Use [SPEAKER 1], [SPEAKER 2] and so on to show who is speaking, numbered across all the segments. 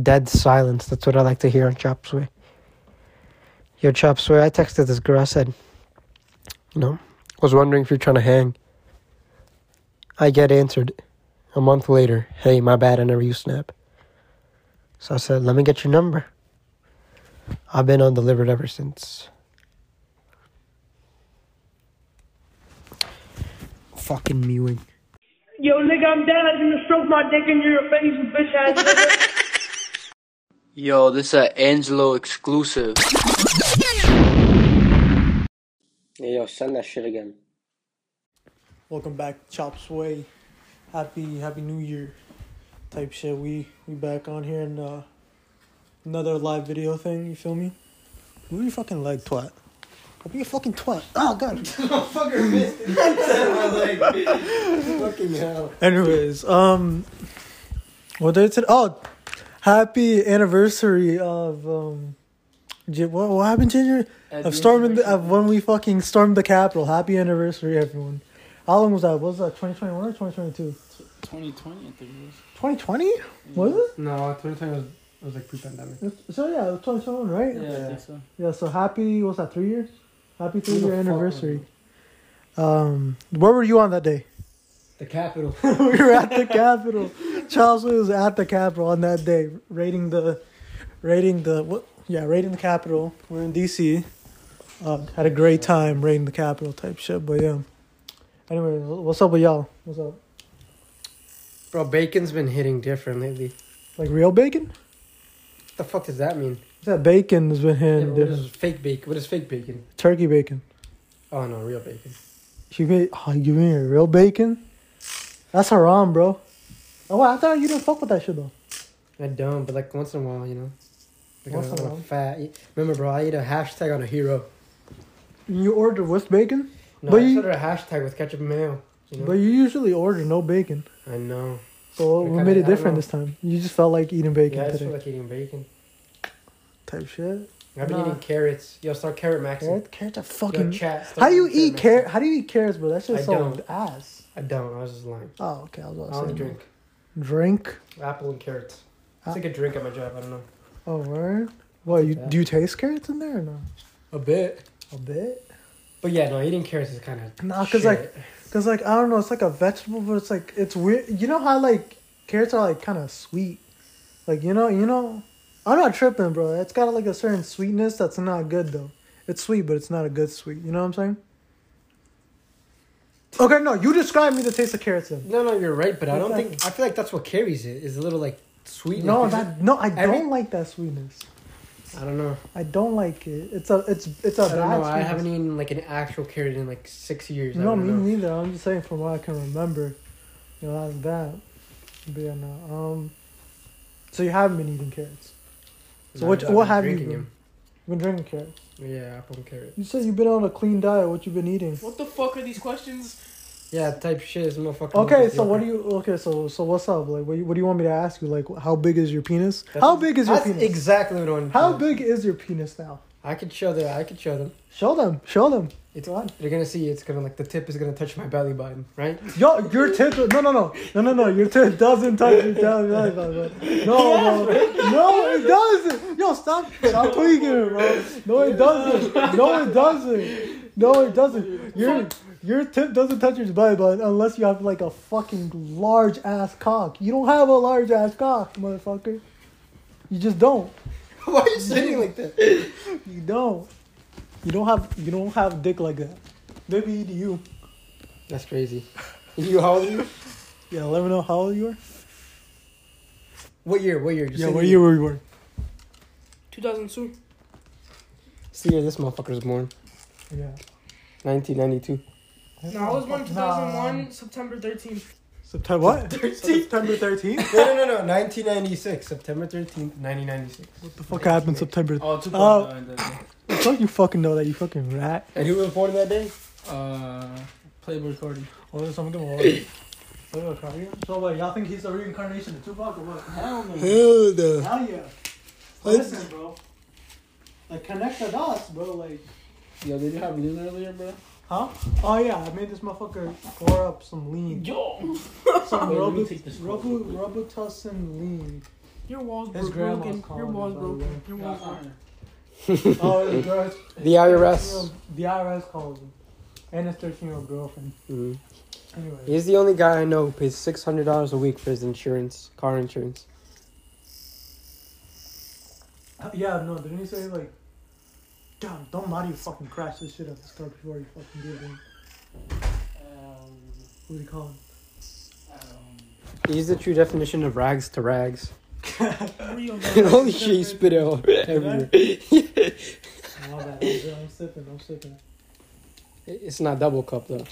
[SPEAKER 1] dead silence. That's what I like to hear on Chop Suey. Yo, Chop Suey, I texted this girl. I said, you know, was wondering if you're trying to hang. I get answered a month later, hey, my bad, I never used Snap. So I said, let me get your number. I've been undelivered ever since. Fucking mewing.
[SPEAKER 2] Yo, nigga, I'm down. I'm gonna stroke my dick in your face, you bitch ass nigga.
[SPEAKER 3] Yo, this a Angelo exclusive.
[SPEAKER 4] Yeah, yo, send that shit again.
[SPEAKER 5] Welcome back, Chop Sway. Happy Happy New Year, type shit. We we back on here and uh, another live video thing. You feel me? Move your fucking leg, twat. Move your fucking twat. Oh god.
[SPEAKER 6] Fucker missed it. my leg. Fucking hell.
[SPEAKER 5] Anyways, um, what day today? Oh, happy anniversary of um, J- what what happened, Ginger?
[SPEAKER 3] At the
[SPEAKER 5] Of storming the,
[SPEAKER 3] anniversary.
[SPEAKER 5] of when we fucking stormed the Capitol. Happy anniversary, everyone. How long was that? What was that 2021 or 2022?
[SPEAKER 6] 2020, I think it was.
[SPEAKER 5] 2020? Was it?
[SPEAKER 6] No, 2020 was, was like pre-pandemic.
[SPEAKER 5] So yeah, it was 2021, right?
[SPEAKER 6] Yeah, I think so.
[SPEAKER 5] Yeah, so happy, what's that, three years? Happy three
[SPEAKER 6] the
[SPEAKER 5] year
[SPEAKER 6] fuck
[SPEAKER 5] anniversary. Um, where were you on that day?
[SPEAKER 6] The capital.
[SPEAKER 5] we were at the Capitol. Charles Lee was at the Capitol on that day, raiding the, raiding the what? Yeah, raiding the Capitol. We're in DC. Uh, had a great time raiding the Capitol type shit. But yeah. Anyway, what's up with y'all? What's up?
[SPEAKER 1] Bro, bacon's been hitting different lately. What
[SPEAKER 5] Like real bacon?
[SPEAKER 1] the fuck does that mean?
[SPEAKER 5] That bacon has been
[SPEAKER 1] Yeah,
[SPEAKER 5] hand
[SPEAKER 1] but what is fake bacon? What is fake bacon?
[SPEAKER 5] turkey bacon.
[SPEAKER 1] Oh no, real bacon.
[SPEAKER 5] You made, oh, you mean real bacon? That's haram, bro. Oh, wow, I thought you didn't fuck with that shit though.
[SPEAKER 1] I don't, but like once in a while, you know. Like
[SPEAKER 5] Once
[SPEAKER 1] once
[SPEAKER 5] in a
[SPEAKER 1] a
[SPEAKER 5] while.
[SPEAKER 1] fat. Remember, bro, I ate a hashtag on a hero.
[SPEAKER 5] You order with bacon,
[SPEAKER 1] No,
[SPEAKER 5] But
[SPEAKER 1] I
[SPEAKER 5] you-
[SPEAKER 1] started a hashtag with ketchup and mayo. You know?
[SPEAKER 5] but you usually order no bacon.
[SPEAKER 1] I know.
[SPEAKER 5] So
[SPEAKER 1] We
[SPEAKER 5] we
[SPEAKER 1] kinda-
[SPEAKER 5] made
[SPEAKER 1] I
[SPEAKER 5] it
[SPEAKER 1] don't
[SPEAKER 5] different
[SPEAKER 1] know.
[SPEAKER 5] this time. You just felt like eating bacon
[SPEAKER 1] yeah, I just
[SPEAKER 5] today.
[SPEAKER 1] feel like eating bacon.
[SPEAKER 5] type shit.
[SPEAKER 1] I've been
[SPEAKER 5] Nah.
[SPEAKER 1] eating carrots. Yo, start carrot maxing.
[SPEAKER 5] Carrot, carrots are fucking.
[SPEAKER 1] Yo, chat, start
[SPEAKER 5] how do you
[SPEAKER 1] eating
[SPEAKER 5] eat
[SPEAKER 1] carrot
[SPEAKER 5] carrot? How do you eat carrots, bro? That's
[SPEAKER 1] I
[SPEAKER 5] just so
[SPEAKER 1] don't.
[SPEAKER 5] ass.
[SPEAKER 1] maxing. I don't. I was just lying.
[SPEAKER 5] Oh, okay. I was
[SPEAKER 1] I
[SPEAKER 5] about to
[SPEAKER 1] only
[SPEAKER 5] say
[SPEAKER 1] drink
[SPEAKER 5] Drink.
[SPEAKER 1] apple and carrots.
[SPEAKER 5] Ah.
[SPEAKER 1] It's like a drink at my job. I don't know.
[SPEAKER 5] Oh, word. What you
[SPEAKER 1] Yeah.
[SPEAKER 5] do? You taste carrots in there or no?
[SPEAKER 1] A bit.
[SPEAKER 5] A bit.
[SPEAKER 1] But yeah, no, eating carrots is kind of
[SPEAKER 5] Nah, 'cause, like- Cause like I don't know, it's like a vegetable, but it's like it's weird. You know how like carrots are like kind of sweet, like you know, you know. I'm not tripping, bro. It's got like a certain sweetness that's not good though. It's sweet, but it's not a good sweet. You know what I'm saying? Okay, no, you describe me the taste of carrots. Then.
[SPEAKER 1] No, no, you're right, but I
[SPEAKER 5] It's
[SPEAKER 1] don't
[SPEAKER 5] like-
[SPEAKER 1] think I feel like that's what carries it. Is a little like sweetness.
[SPEAKER 5] No,
[SPEAKER 1] Is
[SPEAKER 5] that no, I
[SPEAKER 1] every-
[SPEAKER 5] don't like that sweetness.
[SPEAKER 1] it? I don't know.
[SPEAKER 5] I don't like it. It's a, it's, it's a
[SPEAKER 1] I don't
[SPEAKER 5] bad.
[SPEAKER 1] know. I
[SPEAKER 5] sweetness.
[SPEAKER 1] haven't eaten like an actual carrot in like six years. I
[SPEAKER 5] No,
[SPEAKER 1] don't
[SPEAKER 5] me
[SPEAKER 1] know.
[SPEAKER 5] neither. I'm just saying from what I can remember. You know, that's that. But yeah, no. Um, so you haven't been eating carrots. So
[SPEAKER 1] No,
[SPEAKER 5] what-
[SPEAKER 1] I've been
[SPEAKER 5] what have you
[SPEAKER 1] drinking
[SPEAKER 5] been? You've been drinking carrots.
[SPEAKER 1] them. Yeah, apple and carrot.
[SPEAKER 5] You said you've been on a clean diet. What you been eating?
[SPEAKER 1] Oh,
[SPEAKER 6] What the fuck are these questions?
[SPEAKER 1] Yeah, type shit is motherfucking.
[SPEAKER 5] Okay, so what do you? Okay, so so what's up? Like, what, you- what do you want me to ask you? Like, how big is your penis? how big is your
[SPEAKER 1] That's
[SPEAKER 5] penis?
[SPEAKER 1] exactly what I wanted. to
[SPEAKER 5] how
[SPEAKER 1] know.
[SPEAKER 5] big is your penis now?
[SPEAKER 1] I could show them. I could show them.
[SPEAKER 5] Show them. Show them.
[SPEAKER 1] It's
[SPEAKER 5] Go on.
[SPEAKER 1] They're gonna see. It's gonna like the tip is gonna touch my belly button, right?
[SPEAKER 5] Yo, your tip. No, no, no, no, no, no. Your tip doesn't touch your belly button, bro. No, bro. No, it doesn't. Yo, stop, stop tweaking, it, bro. No, it doesn't. No, it doesn't. No, it doesn't. Your your tip doesn't touch your belly button unless you have like a fucking large ass cock. You don't have a large ass cock, motherfucker. You just don't.
[SPEAKER 1] Why are you sitting like that?
[SPEAKER 5] You don't. You don't have. You don't have dick like that. Maybe you do you.
[SPEAKER 1] That's crazy. You how old are you?
[SPEAKER 5] Yeah, let me know how old you are.
[SPEAKER 1] What year? What year? Just
[SPEAKER 5] Yeah,
[SPEAKER 1] say the
[SPEAKER 5] where you were you born?
[SPEAKER 6] 2002.
[SPEAKER 1] It's the year this motherfucker was born.
[SPEAKER 5] Yeah.
[SPEAKER 1] 1992.
[SPEAKER 6] No,
[SPEAKER 5] Oh,
[SPEAKER 6] I was born 2001, September 13th.
[SPEAKER 5] September what? September 13th?
[SPEAKER 1] No, no, no, no. 1996. September 13th, 1996.
[SPEAKER 5] what the fuck happened September?
[SPEAKER 6] Oh, 2.9.
[SPEAKER 5] Don't you fucking know that you fucking rat?
[SPEAKER 1] And who was born that day?
[SPEAKER 6] Uh, Playboy Cardi.
[SPEAKER 5] Oh, there's something going on. So what, y'all think he's a reincarnation of Tupac or what?
[SPEAKER 6] Hell no.
[SPEAKER 1] Hell no.
[SPEAKER 5] Hell yeah. Listen, bro. Like, connect the dots, bro. Like,
[SPEAKER 6] Yo, did you have lean earlier, bro?
[SPEAKER 5] huh? Oh, yeah, I made this motherfucker pour up some lean.
[SPEAKER 6] Yo!
[SPEAKER 5] Some
[SPEAKER 6] Wait, let me
[SPEAKER 5] Robitussin
[SPEAKER 6] take this real quick.
[SPEAKER 5] Robitussin lean.
[SPEAKER 7] Your walls
[SPEAKER 5] His
[SPEAKER 7] were
[SPEAKER 5] grandma's
[SPEAKER 7] broken.
[SPEAKER 5] calling
[SPEAKER 7] Your walls
[SPEAKER 5] him, by the way.
[SPEAKER 7] broken. Your walls broken.
[SPEAKER 5] Oh, his girl-
[SPEAKER 1] The IRS.
[SPEAKER 5] The IRS calls him. And his 13 year old girlfriend.
[SPEAKER 1] Mhm.
[SPEAKER 5] Anyway.
[SPEAKER 1] He's the only guy I know who pays six hundred dollars a week for his insurance, car insurance.
[SPEAKER 5] Uh, Yeah, no, didn't he say, like, God, don't lie to you fucking crash this shit at this car before you fucking get in. Um, What do you call him?
[SPEAKER 1] He's the true definition of rags to rags.
[SPEAKER 5] um,
[SPEAKER 7] Real
[SPEAKER 1] Holy shit, you spit out everywhere.
[SPEAKER 5] Wow, that is it. I'm sipping, I'm sipping.
[SPEAKER 1] It's not double cup though.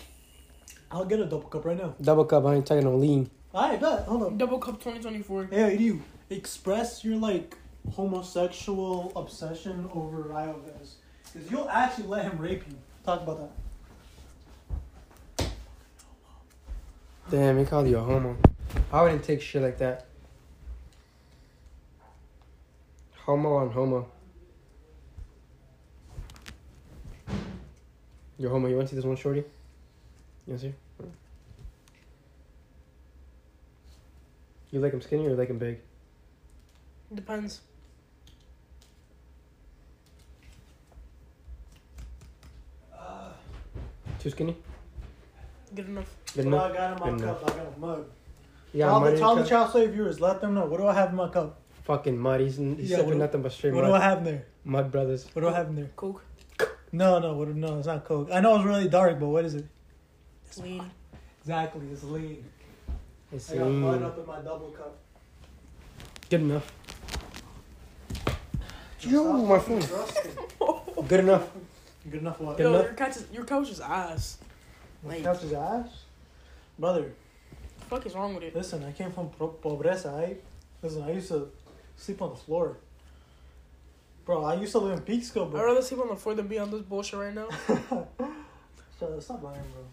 [SPEAKER 5] I'll get a double cup right now.
[SPEAKER 1] Double cup, I ain't talking no lean.
[SPEAKER 5] Alright, bet. Hold up.
[SPEAKER 7] Double Cup 2024.
[SPEAKER 5] Hey, you express your like homosexual obsession over Iovez, because you'll actually let him rape you. Talk about that.
[SPEAKER 1] Damn, he called you a homo. I wouldn't take shit like that. Homo on homo. Yo, homo, you wanna see this one shorty? You wanna see? her? You like him skinny or you like him big?
[SPEAKER 7] Depends.
[SPEAKER 5] Uh,
[SPEAKER 1] Too skinny?
[SPEAKER 7] Good enough.
[SPEAKER 1] Good
[SPEAKER 5] Well, I
[SPEAKER 1] enough?
[SPEAKER 5] got in my
[SPEAKER 1] Good
[SPEAKER 5] cup. I got a mug.
[SPEAKER 1] You got
[SPEAKER 5] All
[SPEAKER 1] mud in
[SPEAKER 5] the
[SPEAKER 1] your
[SPEAKER 5] tell the
[SPEAKER 1] cup?
[SPEAKER 5] child slave viewers, let them know. What do I have in my cup?
[SPEAKER 1] Fucking mud. He's, he's
[SPEAKER 5] Yeah,
[SPEAKER 1] sipping
[SPEAKER 5] what-
[SPEAKER 1] nothing but straight
[SPEAKER 5] What do I
[SPEAKER 1] mud.
[SPEAKER 5] have in there?
[SPEAKER 1] Mud brothers.
[SPEAKER 5] What do I have in there?
[SPEAKER 7] Coke.
[SPEAKER 5] No, no, what, no, it's not coke. I know it's really dark, but what is it?
[SPEAKER 7] Lean.
[SPEAKER 5] Exactly, it's lean.
[SPEAKER 1] It's
[SPEAKER 5] I got mud
[SPEAKER 1] lean.
[SPEAKER 5] up in my double cup.
[SPEAKER 1] Good enough. Yo, my phone. Good enough.
[SPEAKER 5] Good enough. What?
[SPEAKER 1] Good
[SPEAKER 7] Yo,
[SPEAKER 1] enough?
[SPEAKER 7] your couch is your couch is ass.
[SPEAKER 5] My
[SPEAKER 7] Like,
[SPEAKER 5] couch is ass, brother.
[SPEAKER 7] fuck is wrong with it?
[SPEAKER 5] Listen, I came from pro- pobreza. I listen. I used to sleep on the floor, bro. I used to live in Peekskill,
[SPEAKER 7] I'd
[SPEAKER 5] bro.
[SPEAKER 7] rather sleep on the floor than be on this bullshit right now.
[SPEAKER 5] So, stop lying, bro.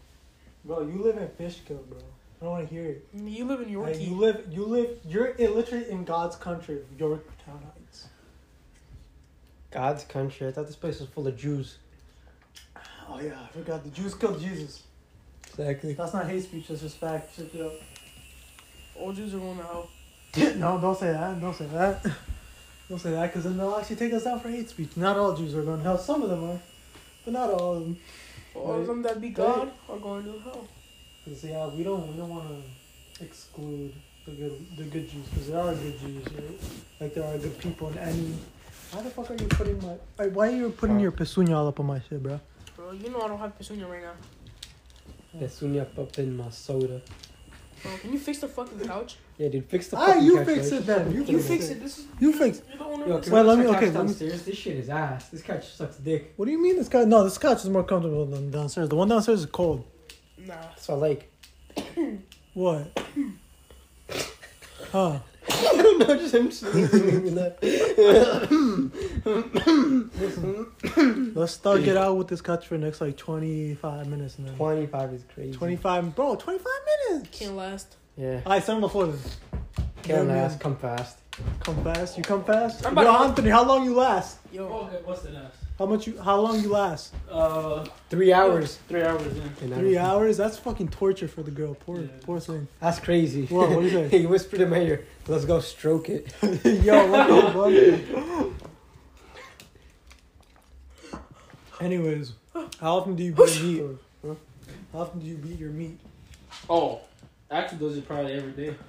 [SPEAKER 5] Bro, you live in Fishkill, bro. I don't want to hear it.
[SPEAKER 7] You live in
[SPEAKER 5] Like, you
[SPEAKER 7] Yorkie.
[SPEAKER 5] live, you live, you're illiterate in God's country, Yorktown Heights.
[SPEAKER 1] God's country. I thought this place was full of Jews.
[SPEAKER 5] Oh yeah, I forgot the Jews killed Jesus.
[SPEAKER 1] Exactly.
[SPEAKER 5] That's not hate speech. That's just fact. Shut it up.
[SPEAKER 7] Old Jews are going to hell.
[SPEAKER 5] no, don't say that. Don't say that. Don't say that, because then they'll actually take us down for hate speech. Not all Jews are going to hell. Some of them are, but not all of them.
[SPEAKER 7] All of them that be God are going to hell.
[SPEAKER 5] Cause yeah, we don't we don't want to exclude the good the good Jews because there are good Jews, right? Like there are good people in any. Why the fuck are you putting my? Like, why are you putting your pesunya all up on my shit, bro?
[SPEAKER 7] Bro, you know I don't have petunia right now.
[SPEAKER 1] Petunia up in my soda.
[SPEAKER 7] Bro, can you fix the fucking couch?
[SPEAKER 1] Yeah, dude, fix the
[SPEAKER 5] Ah,
[SPEAKER 1] fucking
[SPEAKER 5] you
[SPEAKER 1] couch,
[SPEAKER 5] fix
[SPEAKER 1] right?
[SPEAKER 5] it then. You,
[SPEAKER 7] You fix it. This is
[SPEAKER 5] You fix.
[SPEAKER 7] you're the owner
[SPEAKER 1] Yo, can
[SPEAKER 7] of this.
[SPEAKER 1] we
[SPEAKER 5] Well, let
[SPEAKER 1] fix
[SPEAKER 5] me-
[SPEAKER 1] our
[SPEAKER 5] okay,
[SPEAKER 1] couch
[SPEAKER 5] let me-
[SPEAKER 1] downstairs? This shit is ass. This couch sucks dick.
[SPEAKER 5] What do you mean this guy? No, this couch is more comfortable than downstairs. The one downstairs is cold.
[SPEAKER 7] Nah.
[SPEAKER 1] That's what I like.
[SPEAKER 5] What? huh?
[SPEAKER 1] I don't know, just him sneezing me laugh.
[SPEAKER 5] Let's start get out with this couch for the next like twenty five minutes and then.
[SPEAKER 1] 25 is crazy.
[SPEAKER 5] Twenty five, bro. Twenty five minutes.
[SPEAKER 7] Can't last.
[SPEAKER 1] Yeah.
[SPEAKER 5] All right, send him the floor.
[SPEAKER 1] Can't
[SPEAKER 5] Yeah, man.
[SPEAKER 1] last, come fast.
[SPEAKER 5] Come fast. You come fast.
[SPEAKER 7] I'm
[SPEAKER 5] Yo,
[SPEAKER 7] about to-
[SPEAKER 5] Anthony, how long you last?
[SPEAKER 7] Yo,
[SPEAKER 8] what's the next?
[SPEAKER 5] How much you? How long you last?
[SPEAKER 8] Uh,
[SPEAKER 1] Three hours.
[SPEAKER 8] three hours in.
[SPEAKER 1] And I-
[SPEAKER 5] Three hours? That's fucking torture for the girl. Poor,
[SPEAKER 8] Yeah.
[SPEAKER 5] poor thing.
[SPEAKER 1] That's crazy.
[SPEAKER 5] Whoa, what do you say?
[SPEAKER 1] he whispered in my ear, let's go stroke it.
[SPEAKER 5] Yo, what the fuck? Anyways, how often do you beat meat? Huh? How often do you beat your meat?
[SPEAKER 8] Oh, actually, those are probably every day.